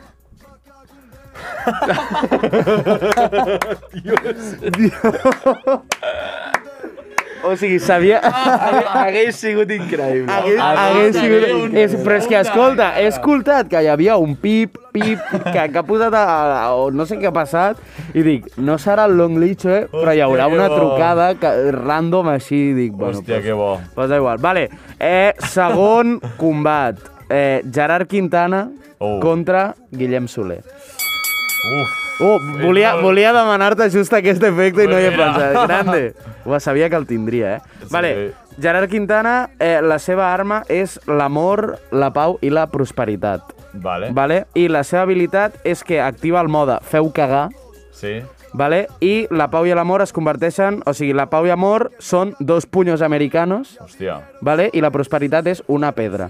[SPEAKER 7] O sigui, sabia...
[SPEAKER 8] Ah! Hagués sigut increïble.
[SPEAKER 7] Hagués, hagués sigut... És, però és que, escolta, he escoltat que hi havia un pip, pip, que, que ha posat a, a, o no sé què ha passat, i dic, no serà el Long Leech, eh? però hi haurà
[SPEAKER 3] Hòstia, que
[SPEAKER 7] una
[SPEAKER 3] bo.
[SPEAKER 7] trucada que, random així, i dic, bueno,
[SPEAKER 3] Hòstia, que bo.
[SPEAKER 7] pues da igual. Vale, eh, segon combat, eh, Gerard Quintana
[SPEAKER 3] Oh.
[SPEAKER 7] contra Guillem Soler.
[SPEAKER 3] Uf,
[SPEAKER 7] Oh,
[SPEAKER 8] Eh,
[SPEAKER 7] volia,
[SPEAKER 3] molt-
[SPEAKER 7] volia demanar-te just aquest efecte i no hi he
[SPEAKER 3] Mira.
[SPEAKER 7] pensat. Grande. Ho sabia que el tindria, eh?
[SPEAKER 3] Sí.
[SPEAKER 7] Vale, Gerard Quintana, eh, la seva arma és l'amor, la pau i la prosperitat.
[SPEAKER 3] vale. Va.
[SPEAKER 7] Vale? I la seva habilitat és que activa el mode feu cagar,
[SPEAKER 3] Sí.
[SPEAKER 7] vale? i la pau i l'amor es converteixen... O sigui, la pau i amor són dos punyos americanos,
[SPEAKER 3] Hòstia.
[SPEAKER 7] vale? i la prosperitat és una pedra.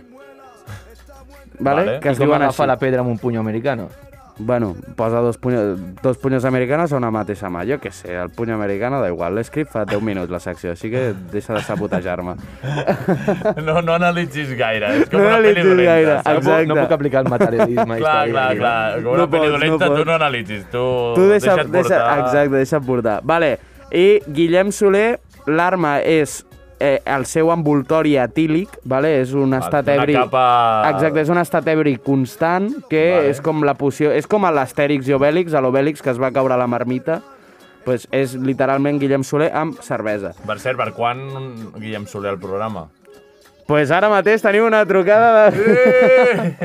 [SPEAKER 7] Vale?
[SPEAKER 3] Vale.
[SPEAKER 7] Que
[SPEAKER 8] I
[SPEAKER 7] es
[SPEAKER 8] com
[SPEAKER 7] diuen
[SPEAKER 8] agafa
[SPEAKER 7] així.
[SPEAKER 8] la pedra amb un puny americano?
[SPEAKER 7] Bueno, posa dos, punyo, dos punyos americanos a una mateixa mà. Jo què sé, el puny americano da igual. L'he escrit fa 10 minuts, la secció, així que deixa de sabotejar-me.
[SPEAKER 3] No, no analitzis gaire. eh? És com
[SPEAKER 7] No
[SPEAKER 3] una peli
[SPEAKER 7] analitzis
[SPEAKER 3] dolenta.
[SPEAKER 7] gaire.
[SPEAKER 3] saps?
[SPEAKER 8] No puc, no
[SPEAKER 7] Exacte.
[SPEAKER 8] puc aplicar el materialisme.
[SPEAKER 3] Clar,
[SPEAKER 8] històric
[SPEAKER 3] clar,
[SPEAKER 8] aquí.
[SPEAKER 3] clar. Com una
[SPEAKER 7] No
[SPEAKER 3] no peli
[SPEAKER 7] pots, no
[SPEAKER 3] dolenta, no tu
[SPEAKER 7] pots.
[SPEAKER 3] no analitzis. Tu,
[SPEAKER 7] Tu deixa,
[SPEAKER 3] deixa't
[SPEAKER 7] deixa,
[SPEAKER 3] Oh, portar.
[SPEAKER 7] exacte, deixa't portar. Vale, i Guillem Soler, l'arma és eh, el seu envoltori etílic, vale? és un estat
[SPEAKER 3] una
[SPEAKER 7] ebri...
[SPEAKER 3] capa-
[SPEAKER 7] Exacte, és un estat ebri constant, que
[SPEAKER 3] Vale.
[SPEAKER 7] vale. és com la poció... És com a l'Astèrix i Obèlix, a l'Obèlix, que es va caure a la marmita. Pues és literalment Guillem Soler amb cervesa.
[SPEAKER 3] Per cert, per quan Guillem Soler al programa?
[SPEAKER 7] Pues ara mateix teniu una trucada de...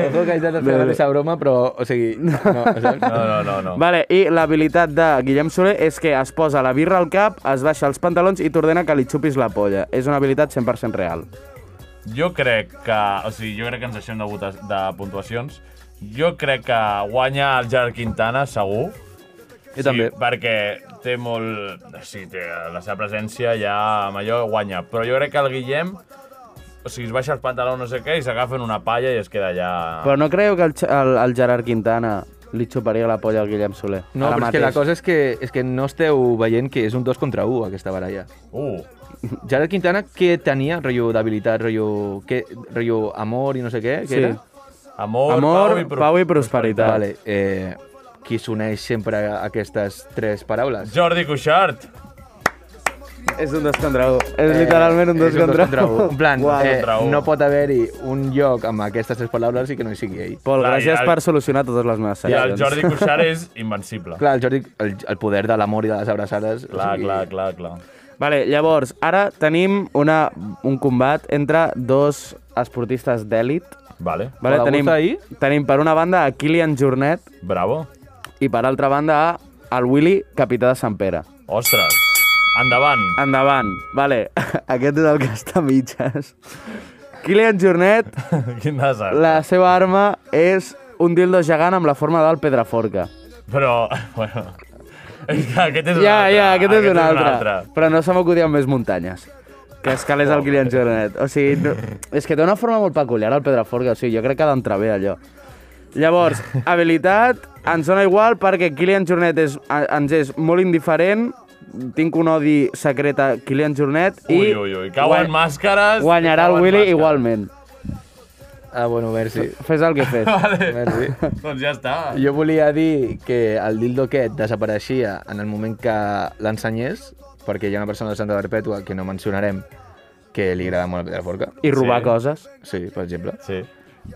[SPEAKER 8] Ojo que haig de fer aquesta broma, però, o sigui... No, saps?
[SPEAKER 3] No, no, no. no.
[SPEAKER 7] Vale, i l'habilitat de Guillem Soler és que es posa la birra al cap, es baixa els pantalons i t'ordena que li xupis la polla. És una habilitat 100% real.
[SPEAKER 3] Jo crec que... O sigui, jo crec que ens deixem de, votar, de puntuacions. Jo crec que guanya el Gerard Quintana, segur.
[SPEAKER 8] Jo també.
[SPEAKER 3] Perquè té molt... Sí, té la seva presència ja amb allò guanya. Però jo crec que el Guillem... O sigui, es baixa els pantalons no sé què i s'agafen una palla i es queda allà...
[SPEAKER 7] Però no creieu que el, X- el, el Gerard Quintana li xuparia la polla al Guillem Soler?
[SPEAKER 8] No,
[SPEAKER 7] Ara
[SPEAKER 8] però és que la
[SPEAKER 7] mateix.
[SPEAKER 8] cosa és que, és que no esteu veient que és un 2 contra 1, aquesta baralla.
[SPEAKER 3] Uh,
[SPEAKER 8] Gerard Quintana, què tenia, rotllo d'habilitat, rotllo, què, rotllo amor i no sé què, què
[SPEAKER 7] Sí.
[SPEAKER 8] era?
[SPEAKER 3] amor,
[SPEAKER 7] Amor,
[SPEAKER 3] pau i... Pro...
[SPEAKER 7] pau i prosperitat.
[SPEAKER 8] Vale, eh, qui s'uneix sempre a aquestes tres paraules?
[SPEAKER 3] Jordi Cuixart.
[SPEAKER 7] És un dos contra un. És literalment un dos contra
[SPEAKER 8] Eh, un. En plan,
[SPEAKER 7] Uau.
[SPEAKER 8] eh,
[SPEAKER 3] contra un.
[SPEAKER 8] no pot haver-hi un lloc amb aquestes tres paraules i que no hi sigui ell.
[SPEAKER 7] Pol,
[SPEAKER 3] Clar, i
[SPEAKER 7] gràcies
[SPEAKER 3] el-
[SPEAKER 7] per solucionar totes les meves
[SPEAKER 3] I el
[SPEAKER 7] seccions.
[SPEAKER 3] Jordi Cuixart és invencible.
[SPEAKER 8] doncs. Clar, el, Jordi, el, el poder de l'amor i de les abraçades... o
[SPEAKER 3] clar,
[SPEAKER 8] sigui,
[SPEAKER 3] clar, clar, clar.
[SPEAKER 7] Vale, llavors, ara tenim una, un combat entre dos esportistes d'èlit.
[SPEAKER 3] Vale,
[SPEAKER 7] Vale,
[SPEAKER 8] Hola,
[SPEAKER 7] tenim,
[SPEAKER 8] Agustí.
[SPEAKER 7] tenim per una banda a Kilian Jornet
[SPEAKER 3] bravo.
[SPEAKER 7] i per altra banda a el Willy, capità de Sant Pere.
[SPEAKER 3] Ostres, endavant.
[SPEAKER 7] Endavant. Vale, aquest és el que està a mitges. Kilian Jornet,
[SPEAKER 3] Quin desastre. La...
[SPEAKER 7] la seva arma és un dildo gegant amb la forma del Pedraforca.
[SPEAKER 3] Però, bueno... És que aquest és un
[SPEAKER 7] Ja,
[SPEAKER 3] altre.
[SPEAKER 7] ja, aquest és un
[SPEAKER 3] un
[SPEAKER 7] altre. Però no se m'acudien més muntanyes que escalés el Kilian Jornet. O sigui, no, és que té una forma molt peculiar el Pedraforca, o sigui, jo crec que ha d'entrar bé allò. Llavors, habilitat, ens dona igual perquè Kilian Jornet és, a- ens és molt indiferent, tinc un odi secret a Kilian Jornet
[SPEAKER 3] Ui,
[SPEAKER 7] i
[SPEAKER 3] ui, ui, cauen
[SPEAKER 7] guany-
[SPEAKER 3] màscares.
[SPEAKER 7] guanyarà el
[SPEAKER 3] cauen
[SPEAKER 7] Willy
[SPEAKER 3] màscares.
[SPEAKER 7] igualment.
[SPEAKER 8] Ah, bueno, merci.
[SPEAKER 7] Fes el que fes.
[SPEAKER 8] merci.
[SPEAKER 3] Doncs ja està.
[SPEAKER 8] Jo volia dir que el dildo aquest desapareixia en el moment que l'ensenyés, perquè hi ha una persona de Santa Perpètua que no mencionarem que li agrada molt la pedra forca.
[SPEAKER 7] I robar
[SPEAKER 3] Sí.
[SPEAKER 7] coses.
[SPEAKER 8] Sí, per exemple.
[SPEAKER 3] Sí.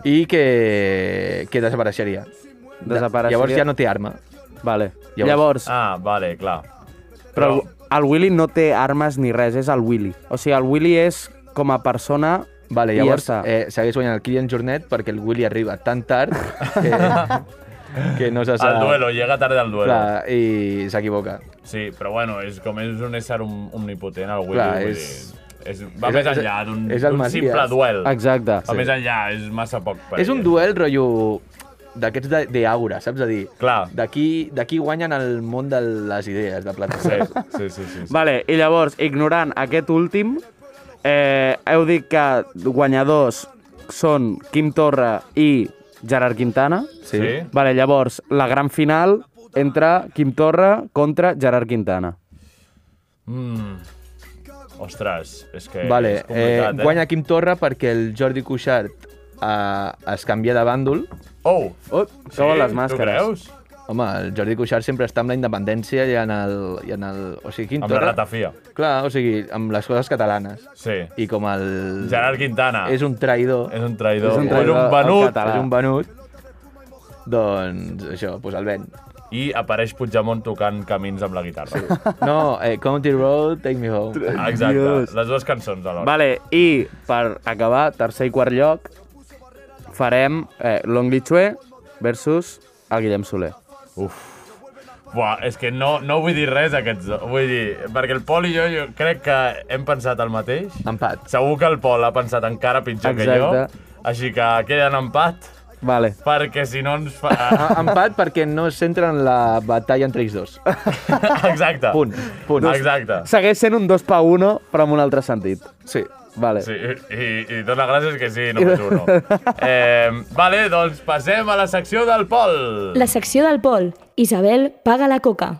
[SPEAKER 8] I que, que desapareixeria.
[SPEAKER 7] Desapareixeria.
[SPEAKER 8] Llavors ja no té arma.
[SPEAKER 7] Vale.
[SPEAKER 8] Llavors-
[SPEAKER 7] Llavors,
[SPEAKER 3] Ah, vale, clar.
[SPEAKER 7] Però el, el Willy no té armes ni res, és el Willy. O sigui, el Willy és com a persona...
[SPEAKER 8] Vale,
[SPEAKER 7] i
[SPEAKER 8] llavors
[SPEAKER 7] ja està.
[SPEAKER 8] eh, segueix guanyant el Kilian Jornet perquè el Willy arriba tan tard que, que no se sap...
[SPEAKER 3] Al duelo, llega tarde al duelo.
[SPEAKER 8] Clar, i s'equivoca.
[SPEAKER 3] Sí, però bueno, és com és un ésser om- omnipotent, el Willy.
[SPEAKER 8] Clar,
[SPEAKER 3] vull
[SPEAKER 8] és-
[SPEAKER 3] dir, és, va
[SPEAKER 8] és-
[SPEAKER 3] més
[SPEAKER 8] és-
[SPEAKER 3] enllà d'un
[SPEAKER 8] és el
[SPEAKER 3] d'un
[SPEAKER 8] Masies.
[SPEAKER 3] simple duel.
[SPEAKER 7] Exacte.
[SPEAKER 3] Va més enllà, és massa poc per
[SPEAKER 8] És un
[SPEAKER 3] ell.
[SPEAKER 8] duel, rotllo, d'aquests de- d'Àgora, saps? A dir,
[SPEAKER 3] Clar.
[SPEAKER 8] d'aquí d'aquí guanyen el món de les idees, de plata.
[SPEAKER 3] Sí, sí, sí. sí, sí.
[SPEAKER 7] Vale, i llavors, ignorant aquest últim, eh, heu dit que guanyadors són Quim Torra i Gerard Quintana.
[SPEAKER 3] Sí. Sí.
[SPEAKER 7] Vale, llavors, la gran final entre Quim Torra contra Gerard Quintana.
[SPEAKER 3] Mm. Ostres, és que
[SPEAKER 8] Vale,
[SPEAKER 3] és
[SPEAKER 8] eh,
[SPEAKER 3] complicat, eh?
[SPEAKER 8] guanya Quim Torra perquè el Jordi Cuixart eh, es canvia de bàndol.
[SPEAKER 3] Oh!
[SPEAKER 7] Ui,
[SPEAKER 3] Sí,
[SPEAKER 7] cauen les
[SPEAKER 3] tu
[SPEAKER 7] màscares.
[SPEAKER 3] creus?
[SPEAKER 8] Home, el Jordi Cuixart sempre està amb la independència i en el... I en el o sigui, Quim
[SPEAKER 3] Amb la
[SPEAKER 8] Torra...
[SPEAKER 3] ratafia.
[SPEAKER 8] Clar, o sigui, amb les coses catalanes.
[SPEAKER 3] Sí.
[SPEAKER 8] I com el...
[SPEAKER 3] Gerard Quintana.
[SPEAKER 8] És un traïdor.
[SPEAKER 3] És un traïdor.
[SPEAKER 7] És un
[SPEAKER 3] O
[SPEAKER 7] traïdor
[SPEAKER 3] és
[SPEAKER 7] al
[SPEAKER 3] un venut.
[SPEAKER 7] català.
[SPEAKER 8] És un venut. Doncs això, doncs el ven.
[SPEAKER 3] I apareix Puigdemont tocant camins amb la guitarra. Sí.
[SPEAKER 8] No, eh, County Road, Take Me Home.
[SPEAKER 3] Exacte.
[SPEAKER 7] Dios.
[SPEAKER 3] Les dues cançons alhora.
[SPEAKER 7] Vale, i per acabar, tercer i quart lloc, farem eh, Long Li Chue versus el Guillem Soler.
[SPEAKER 3] Buah, és que no, no vull dir res aquests dos. Vull dir, perquè el Pol i jo, jo crec que hem pensat el mateix.
[SPEAKER 8] Empat.
[SPEAKER 3] Segur que el Pol ha pensat encara pitjor
[SPEAKER 7] Exacte.
[SPEAKER 3] que jo. Així que queda en empat,
[SPEAKER 7] Vale.
[SPEAKER 3] perquè si no ens fa...
[SPEAKER 8] A- Ah, Empat perquè no es centra en la batalla entre ells dos.
[SPEAKER 3] Exacte.
[SPEAKER 8] Punt, punt.
[SPEAKER 3] Exacte.
[SPEAKER 7] Segueix sent un 2 pa 1, però en un altre sentit.
[SPEAKER 8] Sí.
[SPEAKER 7] Vale.
[SPEAKER 3] Sí, i, i dona gràcies que sí, només uno. Eh, vale, doncs passem a la secció del Pol.
[SPEAKER 1] La secció del Pol. Isabel paga la coca.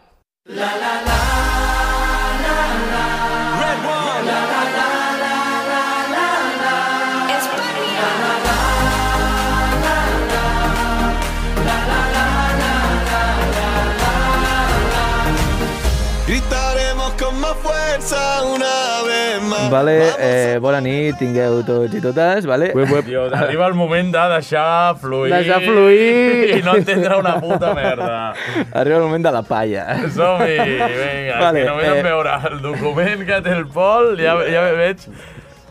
[SPEAKER 9] Gritaremos con más fuerza una vez más.
[SPEAKER 8] Vale, eh, bona nit, tingueu tots i totes, vale?
[SPEAKER 3] Dios, arriba el moment de deixar fluir.
[SPEAKER 7] Deixar fluir.
[SPEAKER 3] I no entendre una puta merda.
[SPEAKER 8] Arriba el moment de la palla.
[SPEAKER 3] Som-hi, vinga, vale,
[SPEAKER 8] Vale,
[SPEAKER 3] que només eh...
[SPEAKER 8] eh.
[SPEAKER 3] veure el document que té el Pol, ja, ja veig,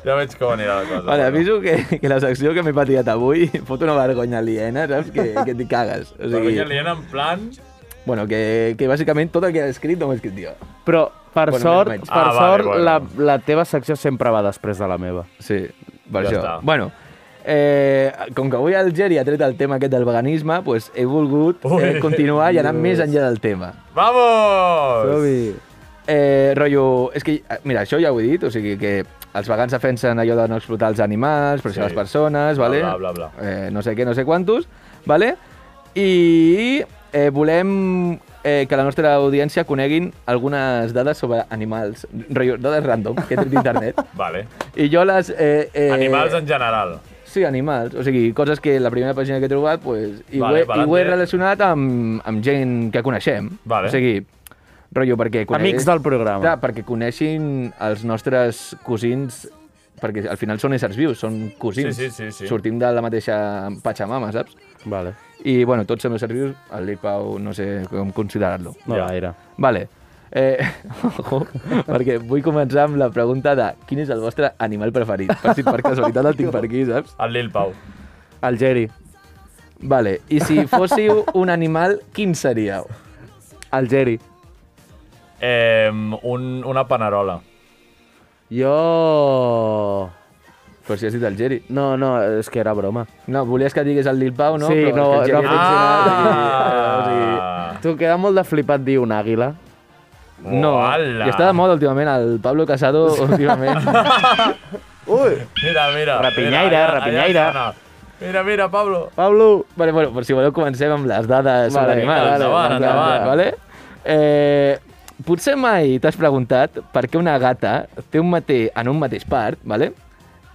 [SPEAKER 3] ja veig com anirà la cosa.
[SPEAKER 8] Vale, aviso que, que la secció que m'he patit avui fot una vergonya aliena, saps? Que, que t'hi cagues. O sigui,
[SPEAKER 3] Vergonya aliena en plan...
[SPEAKER 8] bueno, que, que bàsicament tot el que he escrit no m'he escrit jo.
[SPEAKER 7] Però, per
[SPEAKER 8] Bueno,
[SPEAKER 7] sort,
[SPEAKER 8] menys.
[SPEAKER 7] per
[SPEAKER 3] Ah, vale,
[SPEAKER 7] sort
[SPEAKER 3] bueno.
[SPEAKER 7] La, la teva secció sempre va després de la meva.
[SPEAKER 8] Sí, per
[SPEAKER 3] Ja
[SPEAKER 8] ja això.
[SPEAKER 3] està.
[SPEAKER 8] Bueno, eh, com que avui el Geri ha tret el tema aquest del veganisme, doncs he volgut eh,
[SPEAKER 3] Ui.
[SPEAKER 8] continuar i anar més enllà del tema.
[SPEAKER 3] Vamos!
[SPEAKER 7] Tobi.
[SPEAKER 8] Eh, rotllo, és que, eh, mira, això ja ho he dit, o sigui que els vegans defensen allò de no explotar els animals, però
[SPEAKER 3] Sí.
[SPEAKER 8] sí. les persones, vale?
[SPEAKER 3] bla, bla, bla.
[SPEAKER 8] Eh, no sé què, no sé quantos, vale? I eh, volem eh, que la nostra audiència coneguin algunes dades sobre animals, rotllo, dades random que he tret d'internet.
[SPEAKER 3] Vale.
[SPEAKER 8] I jo les... Eh, eh,
[SPEAKER 3] Animals en general.
[SPEAKER 8] Sí, animals. O sigui, coses que la primera pàgina que he trobat pues, i,
[SPEAKER 3] Vale,
[SPEAKER 8] vale, ho, he, i ho he
[SPEAKER 3] valente.
[SPEAKER 8] relacionat amb, amb gent que coneixem.
[SPEAKER 3] Vale.
[SPEAKER 8] O sigui, rotllo perquè...
[SPEAKER 7] Amics del programa.
[SPEAKER 8] Clar, perquè coneixin els nostres cosins perquè al final són éssers vius, són cosins.
[SPEAKER 3] Sí, sí, sí, sí.
[SPEAKER 8] Sortim de la mateixa Pachamama, saps?
[SPEAKER 7] Vale.
[SPEAKER 8] I, bueno, tots som éssers vius, el Lipau no sé com considerar-lo.
[SPEAKER 7] No
[SPEAKER 3] Ja.
[SPEAKER 7] ja. gaire.
[SPEAKER 8] Vale. Eh, ojo, perquè vull començar amb la pregunta de quin és el vostre animal preferit. Per si per casualitat el tinc per aquí, saps?
[SPEAKER 3] El Lil Pau.
[SPEAKER 7] El Geri.
[SPEAKER 8] Vale, i si fóssiu un animal, quin seríeu?
[SPEAKER 7] El Geri.
[SPEAKER 3] Eh, un, una panerola.
[SPEAKER 7] Jo...
[SPEAKER 8] Però si has dit el Geri.
[SPEAKER 7] No, no, és que era broma.
[SPEAKER 8] No, volies que digués el Lil Pau, no?
[SPEAKER 7] Sí,
[SPEAKER 8] Però
[SPEAKER 7] no,
[SPEAKER 8] és que
[SPEAKER 7] no
[SPEAKER 8] el Geri
[SPEAKER 3] Ah!
[SPEAKER 7] Tu queda molt de flipat dir un àguila.
[SPEAKER 8] no, no.
[SPEAKER 3] Hola.
[SPEAKER 8] I està de moda últimament, el Pablo Casado últimament.
[SPEAKER 7] Ui!
[SPEAKER 3] Mira, mira.
[SPEAKER 7] Rapinyaire,
[SPEAKER 3] mira, allà- allà
[SPEAKER 7] rapinyaire.
[SPEAKER 3] està, no. Mira, mira, Pablo.
[SPEAKER 7] Pablo!
[SPEAKER 8] vale, bueno, per si voleu comencem amb les dades
[SPEAKER 7] Vale,
[SPEAKER 8] sobre animals.
[SPEAKER 7] vale,
[SPEAKER 3] Endavant,
[SPEAKER 8] Vale,
[SPEAKER 3] endavant.
[SPEAKER 8] Vale? Eh, potser mai t'has preguntat per què una gata té un mate, en un mateix part, vale?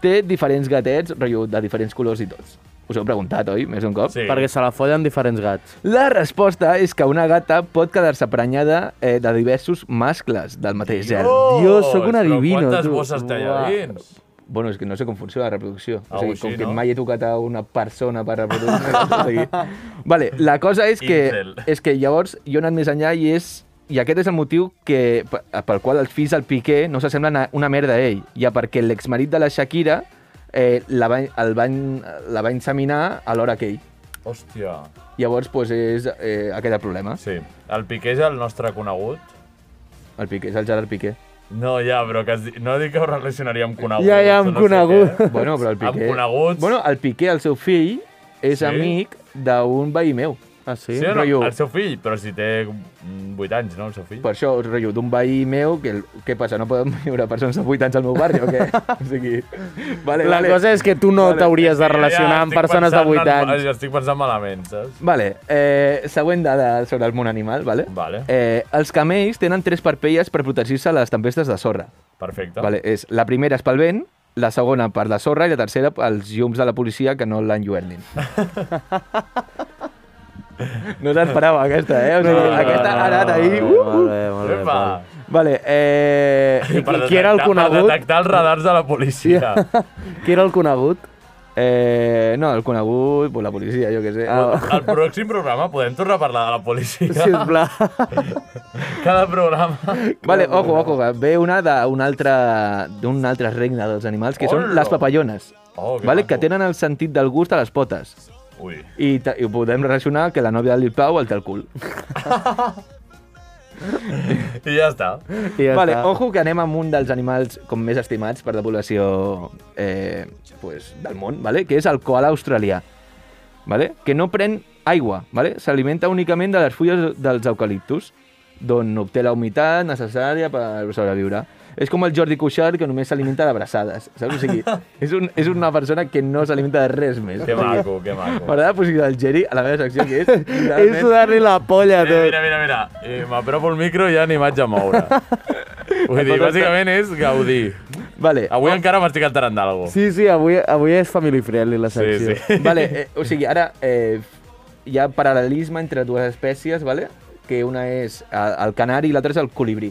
[SPEAKER 8] té diferents gatets, rotllo, de diferents colors i tots. Us heu preguntat, oi? Més d'un cop.
[SPEAKER 3] Sí.
[SPEAKER 7] Perquè se la follen diferents gats.
[SPEAKER 8] La resposta és que una gata pot quedar-se prenyada eh, de diversos mascles del mateix gènere.
[SPEAKER 7] Dios, sóc un
[SPEAKER 3] però
[SPEAKER 7] adivino,
[SPEAKER 3] Quantes
[SPEAKER 7] tu.
[SPEAKER 3] bosses té allà
[SPEAKER 7] Uah.
[SPEAKER 3] dins?
[SPEAKER 8] Bueno, és que no sé com funciona la reproducció.
[SPEAKER 3] Algo
[SPEAKER 8] o sigui,
[SPEAKER 3] així,
[SPEAKER 8] com que
[SPEAKER 3] no?
[SPEAKER 8] mai he tocat a una persona per reproduir-me. o sigui. Vale, la cosa és que,
[SPEAKER 3] Incel.
[SPEAKER 8] és que llavors jo he anat més enllà i és i aquest és el motiu que, pe- pel qual els fills del Piqué no s'assemblen a una merda a ell, ja perquè l'exmarit de la Shakira eh, la, va, el va, en- la va inseminar a l'hora que ell.
[SPEAKER 3] Hòstia.
[SPEAKER 8] Llavors, doncs, és eh, aquest el problema.
[SPEAKER 3] Sí. El Piqué és el nostre conegut?
[SPEAKER 8] El Piqué, és el Gerard Piqué.
[SPEAKER 3] No, ja, però que es di... no dic que ho relacionaria amb conegut.
[SPEAKER 7] Ja, ja,
[SPEAKER 3] o Ah,
[SPEAKER 7] amb
[SPEAKER 3] no sé
[SPEAKER 7] conegut.
[SPEAKER 3] què. eh?
[SPEAKER 8] Bueno, però el
[SPEAKER 3] Amb
[SPEAKER 8] Piqué...
[SPEAKER 3] coneguts.
[SPEAKER 8] Bueno, el Piqué, el seu fill, és
[SPEAKER 3] Sí?
[SPEAKER 8] sí? amic d'un veí meu.
[SPEAKER 7] Ah, sí?
[SPEAKER 3] Sí o no?
[SPEAKER 8] rotllo.
[SPEAKER 3] El seu fill, però si té mm, 8 anys, no, el seu fill?
[SPEAKER 8] Per això, rotllo, d'un veí meu, que, el- què passa, no poden viure persones de 8 anys al meu barri o què? o sigui, vale,
[SPEAKER 7] La
[SPEAKER 8] vale.
[SPEAKER 7] cosa és que tu no t'hauries
[SPEAKER 3] Sí,
[SPEAKER 7] de relacionar amb
[SPEAKER 3] estic
[SPEAKER 7] persones de
[SPEAKER 3] pensant
[SPEAKER 7] 8
[SPEAKER 3] en-
[SPEAKER 7] anys.
[SPEAKER 3] Ja estic pensant malament, saps?
[SPEAKER 8] Vale, eh, següent dada sobre el món animal, vale?
[SPEAKER 3] Vale.
[SPEAKER 8] Eh, els camells tenen tres parpelles per protegir-se a les tempestes de sorra.
[SPEAKER 3] Perfecte.
[SPEAKER 8] Vale, és, la primera és pel vent, la segona per la sorra i la tercera pels llums de la policia que no l'enlluernin. No t'esperava aquesta, eh? O sigui,
[SPEAKER 3] No, no,
[SPEAKER 8] aquesta
[SPEAKER 3] no,
[SPEAKER 8] ha anat
[SPEAKER 3] no,
[SPEAKER 8] ahir...
[SPEAKER 7] Molt
[SPEAKER 8] Uh, uh.
[SPEAKER 7] bé, molt bé, molt bé,
[SPEAKER 3] Epa!
[SPEAKER 7] Pol.
[SPEAKER 8] Vale, eh...
[SPEAKER 7] I
[SPEAKER 3] Per
[SPEAKER 7] qui- qui era el
[SPEAKER 3] detectar- Per
[SPEAKER 7] conegut?
[SPEAKER 3] detectar els radars de la policia.
[SPEAKER 7] Qui era el conegut?
[SPEAKER 8] Eh, no, el conegut, pues, la policia, jo què sé.
[SPEAKER 7] Ah.
[SPEAKER 3] Al pròxim programa podem tornar a parlar de la policia.
[SPEAKER 7] Sisplau.
[SPEAKER 3] Cada programa.
[SPEAKER 8] Vale, ojo, ojo, que ve una d'un altre, d'un altre regne dels animals, que són
[SPEAKER 3] Hola.
[SPEAKER 8] les papallones,
[SPEAKER 3] Oh, que
[SPEAKER 8] vale?
[SPEAKER 3] maco.
[SPEAKER 8] que tenen el sentit del gust a les potes.
[SPEAKER 3] Ui.
[SPEAKER 8] I, ta- i ho podem relacionar que la nòvia del Lil Pau el té al cul.
[SPEAKER 3] I ja està.
[SPEAKER 7] I ja
[SPEAKER 8] vale,
[SPEAKER 7] està.
[SPEAKER 8] ojo que anem amb un dels animals com més estimats per la població eh, pues, del món, vale? que és el koala australià, vale? que no pren aigua, vale? s'alimenta únicament de les fulles dels eucaliptus, d'on obté la humitat necessària per sobreviure. És com el Jordi Cuixart, que només s'alimenta d'abraçades, saps? O sigui, és, un, és una persona que no s'alimenta de res més.
[SPEAKER 3] Que maco, que maco.
[SPEAKER 8] M'agrada posicionar el Geri a la meva secció, que és...
[SPEAKER 7] És
[SPEAKER 8] literalment-
[SPEAKER 7] sudar-li la polla,
[SPEAKER 3] Mira,
[SPEAKER 7] tot.
[SPEAKER 3] mira, mira, mira. Eh, M'apropo el micro i ja ni vaig a moure. Vull dir, bàsicament és gaudir.
[SPEAKER 8] Vale,
[SPEAKER 3] Avui encara m'estic alterant d'algú. Sí.
[SPEAKER 7] Eh, Sí, sí, avui, avui és family friendly la secció.
[SPEAKER 3] sí.
[SPEAKER 8] Vale, eh, o sigui, ara eh, hi ha paral·lelisme entre dues espècies, vale? que una és el el canari i l'altra és el colibrí.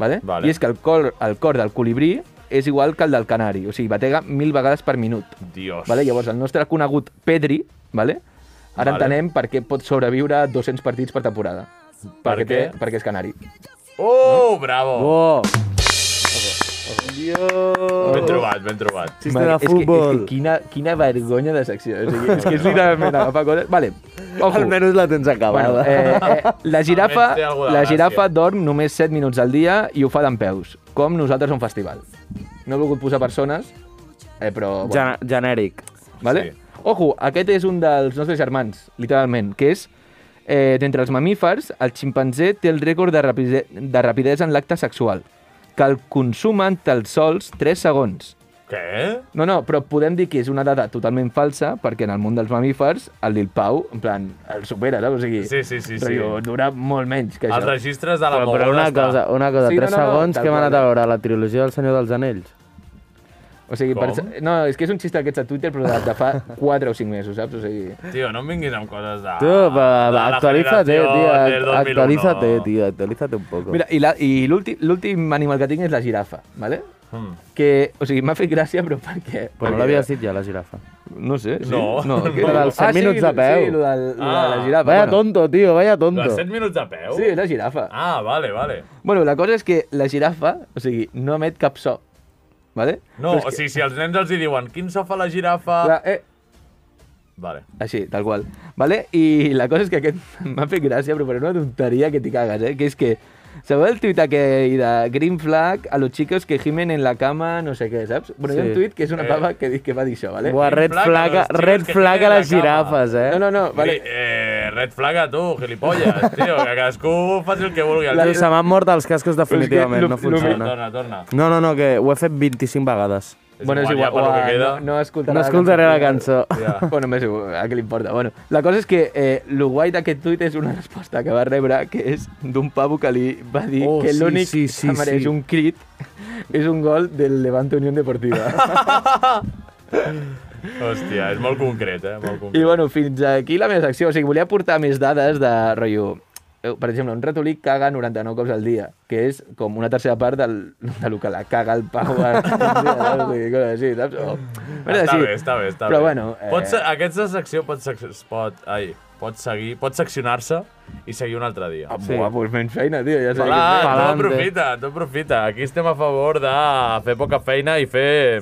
[SPEAKER 8] Vale?
[SPEAKER 3] Vale.
[SPEAKER 8] I és que el cor, el cor del colibrí és igual que el del canari, o sigui, batega mil vegades per minut.
[SPEAKER 3] Dios.
[SPEAKER 8] Vale? Llavors, el nostre conegut Pedri, vale?
[SPEAKER 3] Vale.
[SPEAKER 8] ara vale. entenem per què pot sobreviure a 200 partits per temporada.
[SPEAKER 3] Per
[SPEAKER 8] Perquè, té,
[SPEAKER 3] què?
[SPEAKER 8] perquè és canari.
[SPEAKER 3] Oh, bravo.
[SPEAKER 7] Oh,
[SPEAKER 3] Ben trobat, ben trobat.
[SPEAKER 7] xiste de
[SPEAKER 8] és Que, és
[SPEAKER 7] futbol.
[SPEAKER 8] que quina, quina vergonya de secció. O sigui, és que és literalment agafar coses... Vale, ojo.
[SPEAKER 7] Almenys la tens
[SPEAKER 8] Bueno,
[SPEAKER 7] acabada.
[SPEAKER 8] eh, eh, la
[SPEAKER 3] Almenys
[SPEAKER 8] girafa,
[SPEAKER 3] té alguna
[SPEAKER 8] la
[SPEAKER 3] gràcia.
[SPEAKER 8] girafa dorm només 7 minuts al dia i ho fa d'en peus, com nosaltres a un festival. No he volgut posar persones, eh, però... Bueno,
[SPEAKER 7] Gen- genèric.
[SPEAKER 8] vale?
[SPEAKER 3] sí.
[SPEAKER 8] Ojo, aquest és un dels nostres germans, literalment, que és, eh, d'entre els mamífers, el ximpanzé té el rècord de, rapide de rapidesa en l'acte sexual, que el consumen tan sols 3 segons.
[SPEAKER 3] Què?
[SPEAKER 8] No, no, però podem dir que és una dada totalment falsa, perquè en el món dels mamífers, el Lil Pau, en plan, el supera, no? O sigui,
[SPEAKER 3] Sí, sí, sí, sí.
[SPEAKER 8] rotllo, dura molt menys que
[SPEAKER 3] Els
[SPEAKER 8] això.
[SPEAKER 3] registres de la
[SPEAKER 7] Però,
[SPEAKER 3] moguda
[SPEAKER 7] però una
[SPEAKER 3] està.
[SPEAKER 7] cosa, una cosa,
[SPEAKER 8] Sí, no,
[SPEAKER 7] 3
[SPEAKER 8] no, no,
[SPEAKER 7] segons
[SPEAKER 8] tal
[SPEAKER 7] que hem
[SPEAKER 8] qual.
[SPEAKER 7] anat
[SPEAKER 3] eh.
[SPEAKER 7] a veure la trilogia del Senyor dels Anells.
[SPEAKER 3] Ah,
[SPEAKER 8] O sigui, per...
[SPEAKER 3] Com?
[SPEAKER 8] No, és que és un xiste aquests a Twitter, però de, de fa 4 o 5 mesos, saps? O sigui...
[SPEAKER 3] Tio, no em vinguis amb coses de...
[SPEAKER 7] Tu,
[SPEAKER 3] de
[SPEAKER 7] va, va,
[SPEAKER 3] la
[SPEAKER 7] actualízate,
[SPEAKER 3] generació del
[SPEAKER 7] tio,
[SPEAKER 3] 2001.
[SPEAKER 7] actualízate, tio, actualízate un poco.
[SPEAKER 8] Mira, i la- i l'últim l'últim animal que tinc és la girafa, ¿vale?
[SPEAKER 3] Mm.
[SPEAKER 8] Que, o sigui, m'ha fet gràcia, però per què?
[SPEAKER 7] Però no
[SPEAKER 3] eh,
[SPEAKER 8] Perquè-
[SPEAKER 7] l'havies dit ja, la girafa.
[SPEAKER 8] No sé, sí?
[SPEAKER 3] No.
[SPEAKER 8] no, Ah,
[SPEAKER 3] No.
[SPEAKER 7] Era dels set minuts
[SPEAKER 8] sí,
[SPEAKER 7] a peu.
[SPEAKER 8] Sí, lo del, lo de la
[SPEAKER 3] Ah.
[SPEAKER 8] girafa.
[SPEAKER 7] Vaya tonto, tio, vaya
[SPEAKER 3] De
[SPEAKER 7] tonto.
[SPEAKER 3] 7 minuts a peu?
[SPEAKER 8] Sí, la girafa.
[SPEAKER 3] Ah, vale, vale.
[SPEAKER 8] Bueno, la cosa és que la girafa, o sigui, no emet cap so, ¿vale?
[SPEAKER 3] No,
[SPEAKER 8] Però és
[SPEAKER 3] o sigui, si els nens els hi diuen quin so fa la girafa...
[SPEAKER 8] Que, la, eh,
[SPEAKER 3] Vale.
[SPEAKER 8] Així, tal qual. Vale? I la cosa és que aquest m'ha fet gràcia, però per una tonteria que t'hi cagues, eh? Que és que, sabeu el tuit aquell de Green Flag a los chicos que gimen en la cama, no sé què, saps? Bueno, sí. hi ha
[SPEAKER 7] Sí.
[SPEAKER 8] un tuit que és una
[SPEAKER 3] Eh.
[SPEAKER 8] pava que, di- que va dir això, vale?
[SPEAKER 7] Buah, red
[SPEAKER 3] Flaca,
[SPEAKER 7] flaga,
[SPEAKER 3] los tíos
[SPEAKER 7] red
[SPEAKER 3] que
[SPEAKER 7] flaga
[SPEAKER 3] tienen
[SPEAKER 7] les
[SPEAKER 3] la cama.
[SPEAKER 7] girafes, eh?
[SPEAKER 8] No, no, no,
[SPEAKER 3] Vale.
[SPEAKER 8] vale.
[SPEAKER 3] Eh, red flaga, tu, gilipolles, tio, que cadascú faci el que vulgui.
[SPEAKER 8] La-
[SPEAKER 7] Tio, se m'han mort els cascos definitivament,
[SPEAKER 8] lo-
[SPEAKER 7] no
[SPEAKER 8] lo-
[SPEAKER 7] funciona.
[SPEAKER 3] Torna, torna.
[SPEAKER 7] No, no, no, que ho he fet 25 vegades.
[SPEAKER 8] Bueno, és
[SPEAKER 3] ja
[SPEAKER 8] igual,
[SPEAKER 3] per lo que
[SPEAKER 8] uah,
[SPEAKER 3] queda.
[SPEAKER 8] no, no escoltarà
[SPEAKER 7] No escoltaré la cançó.
[SPEAKER 3] Ja.
[SPEAKER 8] Bueno, més igual, a què li importa. Bueno, la cosa és que eh, lo guai d'aquest tuit és una resposta que va rebre, que és d'un pavo que li va dir
[SPEAKER 7] Oh,
[SPEAKER 8] que
[SPEAKER 7] sí,
[SPEAKER 8] l'únic
[SPEAKER 7] sí, sí,
[SPEAKER 8] que mereix
[SPEAKER 7] sí.
[SPEAKER 8] un crit és un gol del Levante Unión Deportiva.
[SPEAKER 3] Hòstia, és molt concret, eh? Molt
[SPEAKER 8] I
[SPEAKER 3] concret.
[SPEAKER 8] bueno, fins aquí la meva secció. O sigui, volia portar més dades de rotllo eh, per exemple, un ratolí caga 99 cops al dia, que és com una tercera part del, del que la caga el Pau. a- un dia, saps? Vull dir, coses així, saps? O, merda
[SPEAKER 3] Està
[SPEAKER 8] així.
[SPEAKER 3] bé, està bé, està
[SPEAKER 8] Però
[SPEAKER 3] bé.
[SPEAKER 8] bueno... Eh,
[SPEAKER 3] Pots, aquesta secció pot, sec pot, ai, pot seguir, pot seccionar-se i seguir un altre dia.
[SPEAKER 8] ah, Buah, doncs menys feina, tio. Ja sé
[SPEAKER 3] Hola, tu
[SPEAKER 7] Palante.
[SPEAKER 3] aprofita, tu aprofita. Aquí estem a favor de fer poca feina i fer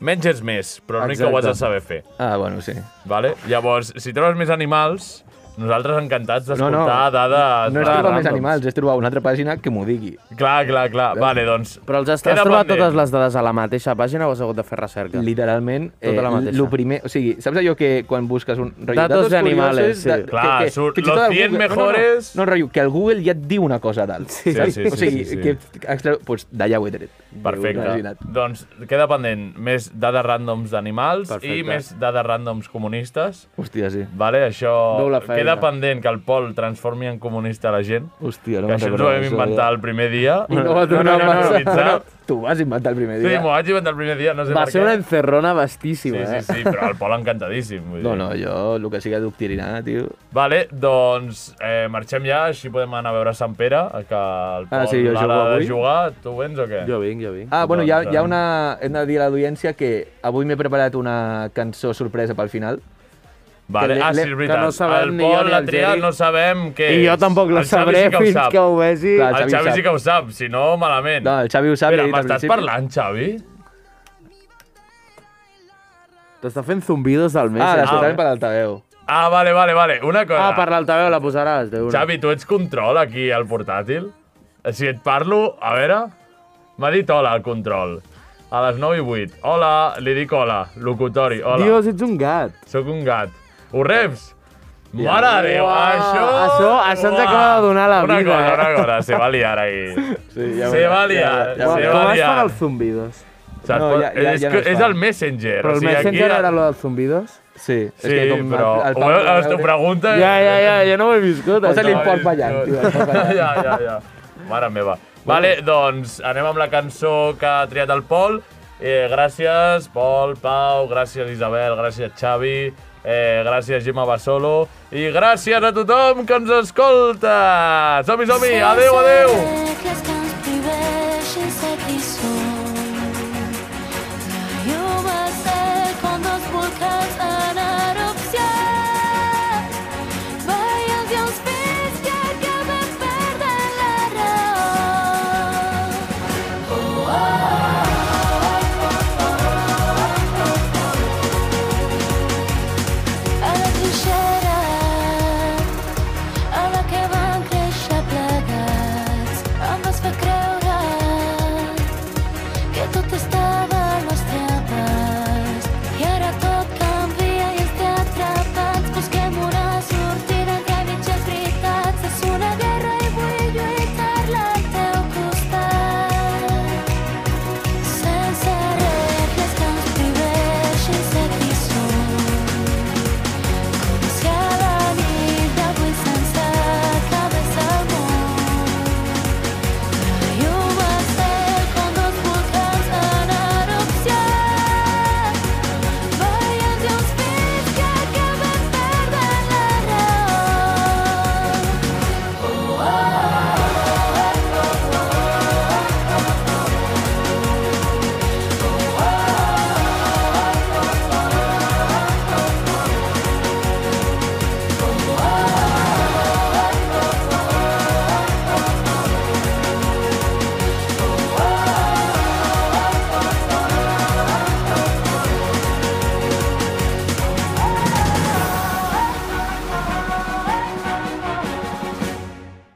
[SPEAKER 3] menys és més, però l'únic que ho has de
[SPEAKER 7] Exacte.
[SPEAKER 3] saber fer.
[SPEAKER 8] Ah, bueno, sí.
[SPEAKER 3] Vale? Llavors, si trobes més animals, nosaltres encantats d'escoltar
[SPEAKER 8] No, no.
[SPEAKER 3] dades...
[SPEAKER 8] No he
[SPEAKER 3] dades
[SPEAKER 8] trobat més
[SPEAKER 3] random.
[SPEAKER 8] animals, he trobat una altra pàgina que m'ho digui.
[SPEAKER 3] Clar, clar, clar. Vale, doncs...
[SPEAKER 7] Però els has,
[SPEAKER 3] queda
[SPEAKER 7] has trobat
[SPEAKER 3] pendent.
[SPEAKER 7] totes les dades a la mateixa pàgina o has hagut de fer recerca?
[SPEAKER 8] Literalment, eh,
[SPEAKER 7] Tota la mateixa.
[SPEAKER 8] lo primer... O sigui, saps allò que quan busques un... rotllo,
[SPEAKER 7] Datos de animales,
[SPEAKER 8] curiosos,
[SPEAKER 7] sí.
[SPEAKER 3] Clar, surt
[SPEAKER 8] fins i tot
[SPEAKER 3] los
[SPEAKER 8] el
[SPEAKER 3] 100
[SPEAKER 8] Google-
[SPEAKER 3] mejores.
[SPEAKER 8] No, no, no, no, rotllo, que el Google ja et diu una cosa a dalt.
[SPEAKER 3] Sí,
[SPEAKER 8] saps?
[SPEAKER 3] sí, sí,
[SPEAKER 8] o sigui,
[SPEAKER 3] sí, sí.
[SPEAKER 8] que... Extra, doncs d'allà ho he tret.
[SPEAKER 3] Perfecte.
[SPEAKER 8] Imagina't.
[SPEAKER 3] Doncs queda pendent més dades ràndoms d'animals i
[SPEAKER 7] Perfecte.
[SPEAKER 3] més dades ràndoms comunistes.
[SPEAKER 8] Hòstia, sí.
[SPEAKER 3] Vale, això
[SPEAKER 7] Doble feina.
[SPEAKER 3] queda pendent que el Pol transformi en comunista la gent.
[SPEAKER 8] Hòstia, no
[SPEAKER 3] que
[SPEAKER 8] me'n
[SPEAKER 3] això ens ho
[SPEAKER 8] recordava
[SPEAKER 3] vam
[SPEAKER 8] això,
[SPEAKER 3] inventar
[SPEAKER 8] ja.
[SPEAKER 3] el primer dia.
[SPEAKER 8] I no va tornar
[SPEAKER 3] no,
[SPEAKER 8] a
[SPEAKER 3] no,
[SPEAKER 8] passar.
[SPEAKER 3] no, no.
[SPEAKER 8] Tu vas inventar el primer
[SPEAKER 3] Sí, m'ho
[SPEAKER 8] dia.
[SPEAKER 3] vaig inventar el primer dia, no sé
[SPEAKER 7] Va
[SPEAKER 3] per
[SPEAKER 7] ser
[SPEAKER 3] què.
[SPEAKER 7] una encerrona vastíssima,
[SPEAKER 3] Sí,
[SPEAKER 8] eh?
[SPEAKER 3] sí, sí, però el Pol encantadíssim. Vull
[SPEAKER 8] No,
[SPEAKER 3] dir.
[SPEAKER 8] no, jo, el que sigui adoctrinar, tio...
[SPEAKER 3] Vale, doncs eh, marxem ja, així podem anar a veure Sant Pere, que el Pol
[SPEAKER 8] Ah, sí, jo
[SPEAKER 3] l'ha
[SPEAKER 8] jugo
[SPEAKER 3] de
[SPEAKER 8] avui.
[SPEAKER 3] jugar. Tu vens o què?
[SPEAKER 7] eh? Jo vinc, jo vinc.
[SPEAKER 8] Ah, bueno, hi ha,
[SPEAKER 3] Doncs,
[SPEAKER 8] hi ha
[SPEAKER 3] eh,
[SPEAKER 8] una... Hem de dir a l'audiència que avui m'he preparat una cançó sorpresa pel final.
[SPEAKER 3] Vale,
[SPEAKER 8] Que le-
[SPEAKER 3] ah, sí,
[SPEAKER 8] le-
[SPEAKER 3] és veritat.
[SPEAKER 7] que no sabem
[SPEAKER 3] el
[SPEAKER 7] ni jo
[SPEAKER 3] Pol
[SPEAKER 7] ni
[SPEAKER 3] l'ha
[SPEAKER 7] el
[SPEAKER 3] triat,
[SPEAKER 7] Geri.
[SPEAKER 3] no sabem què
[SPEAKER 7] I jo
[SPEAKER 3] és.
[SPEAKER 7] tampoc la
[SPEAKER 3] El Xavi
[SPEAKER 7] sabré
[SPEAKER 3] sí que ho
[SPEAKER 7] fins
[SPEAKER 3] Eh, sap.
[SPEAKER 7] que ho vegi.
[SPEAKER 8] Clar,
[SPEAKER 3] El Xavi sí que ho sap, si no, malament.
[SPEAKER 8] No, el Xavi ho sap.
[SPEAKER 3] Espera,
[SPEAKER 8] ja he dit al
[SPEAKER 3] m'estàs
[SPEAKER 8] principi.
[SPEAKER 3] parlant, Xavi?
[SPEAKER 7] T'està fent zumbidos del mes.
[SPEAKER 8] Ah,
[SPEAKER 7] eh?
[SPEAKER 8] la sorpresa per l'altaveu.
[SPEAKER 3] Ah, vale, vale, vale. Una cosa.
[SPEAKER 7] Ah, per l'altaveu la posaràs, Déu.
[SPEAKER 3] Xavi, tu ets control aquí al portàtil? Si et parlo, a veure... M'ha dit hola al control. A les 9 i 8. Hola, li dic hola. Locutori, hola.
[SPEAKER 7] Dios, ets un gat.
[SPEAKER 3] Sóc un gat. Ho reps? Mare de Déu, això...
[SPEAKER 7] això- això ens
[SPEAKER 3] Uah.
[SPEAKER 7] acaba de donar la
[SPEAKER 3] una
[SPEAKER 7] vida,
[SPEAKER 3] Cosa,
[SPEAKER 7] eh?
[SPEAKER 3] una cosa, se va liar ahí. Sí,
[SPEAKER 8] ja
[SPEAKER 3] se
[SPEAKER 8] veuràs,
[SPEAKER 3] va liar,
[SPEAKER 8] ja
[SPEAKER 3] se va
[SPEAKER 8] veuràs.
[SPEAKER 7] Com es fan
[SPEAKER 3] liar.
[SPEAKER 7] els zumbidos?
[SPEAKER 3] Saps?
[SPEAKER 8] No, ja- ja-
[SPEAKER 3] és,
[SPEAKER 8] ja no
[SPEAKER 3] que-
[SPEAKER 8] es fa.
[SPEAKER 3] és el Messenger.
[SPEAKER 7] Però el
[SPEAKER 3] o sigui,
[SPEAKER 7] Messenger
[SPEAKER 3] aquí,
[SPEAKER 7] era lo dels zumbidos?
[SPEAKER 8] Sí,
[SPEAKER 3] Sí, però...
[SPEAKER 8] el- el
[SPEAKER 3] ho
[SPEAKER 8] Pau
[SPEAKER 3] veus,
[SPEAKER 8] va
[SPEAKER 3] Us ho
[SPEAKER 8] veure-
[SPEAKER 3] pregunta...
[SPEAKER 7] Ja, ja, ja, jo no ho he viscut,
[SPEAKER 8] Posa-li
[SPEAKER 7] això.
[SPEAKER 8] el porc ballant, tio, el porc ballant.
[SPEAKER 3] ja, ja, ja. Mare meva. Vale, doncs anem amb la cançó que ha triat el Pol. Eh, gràcies, Pol, Pau, gràcies, Isabel, gràcies, Xavi, eh, gràcies, Gemma Basolo, i gràcies a tothom que ens escolta! Som-hi, som-hi! Adéu, adéu!
[SPEAKER 6] Sé que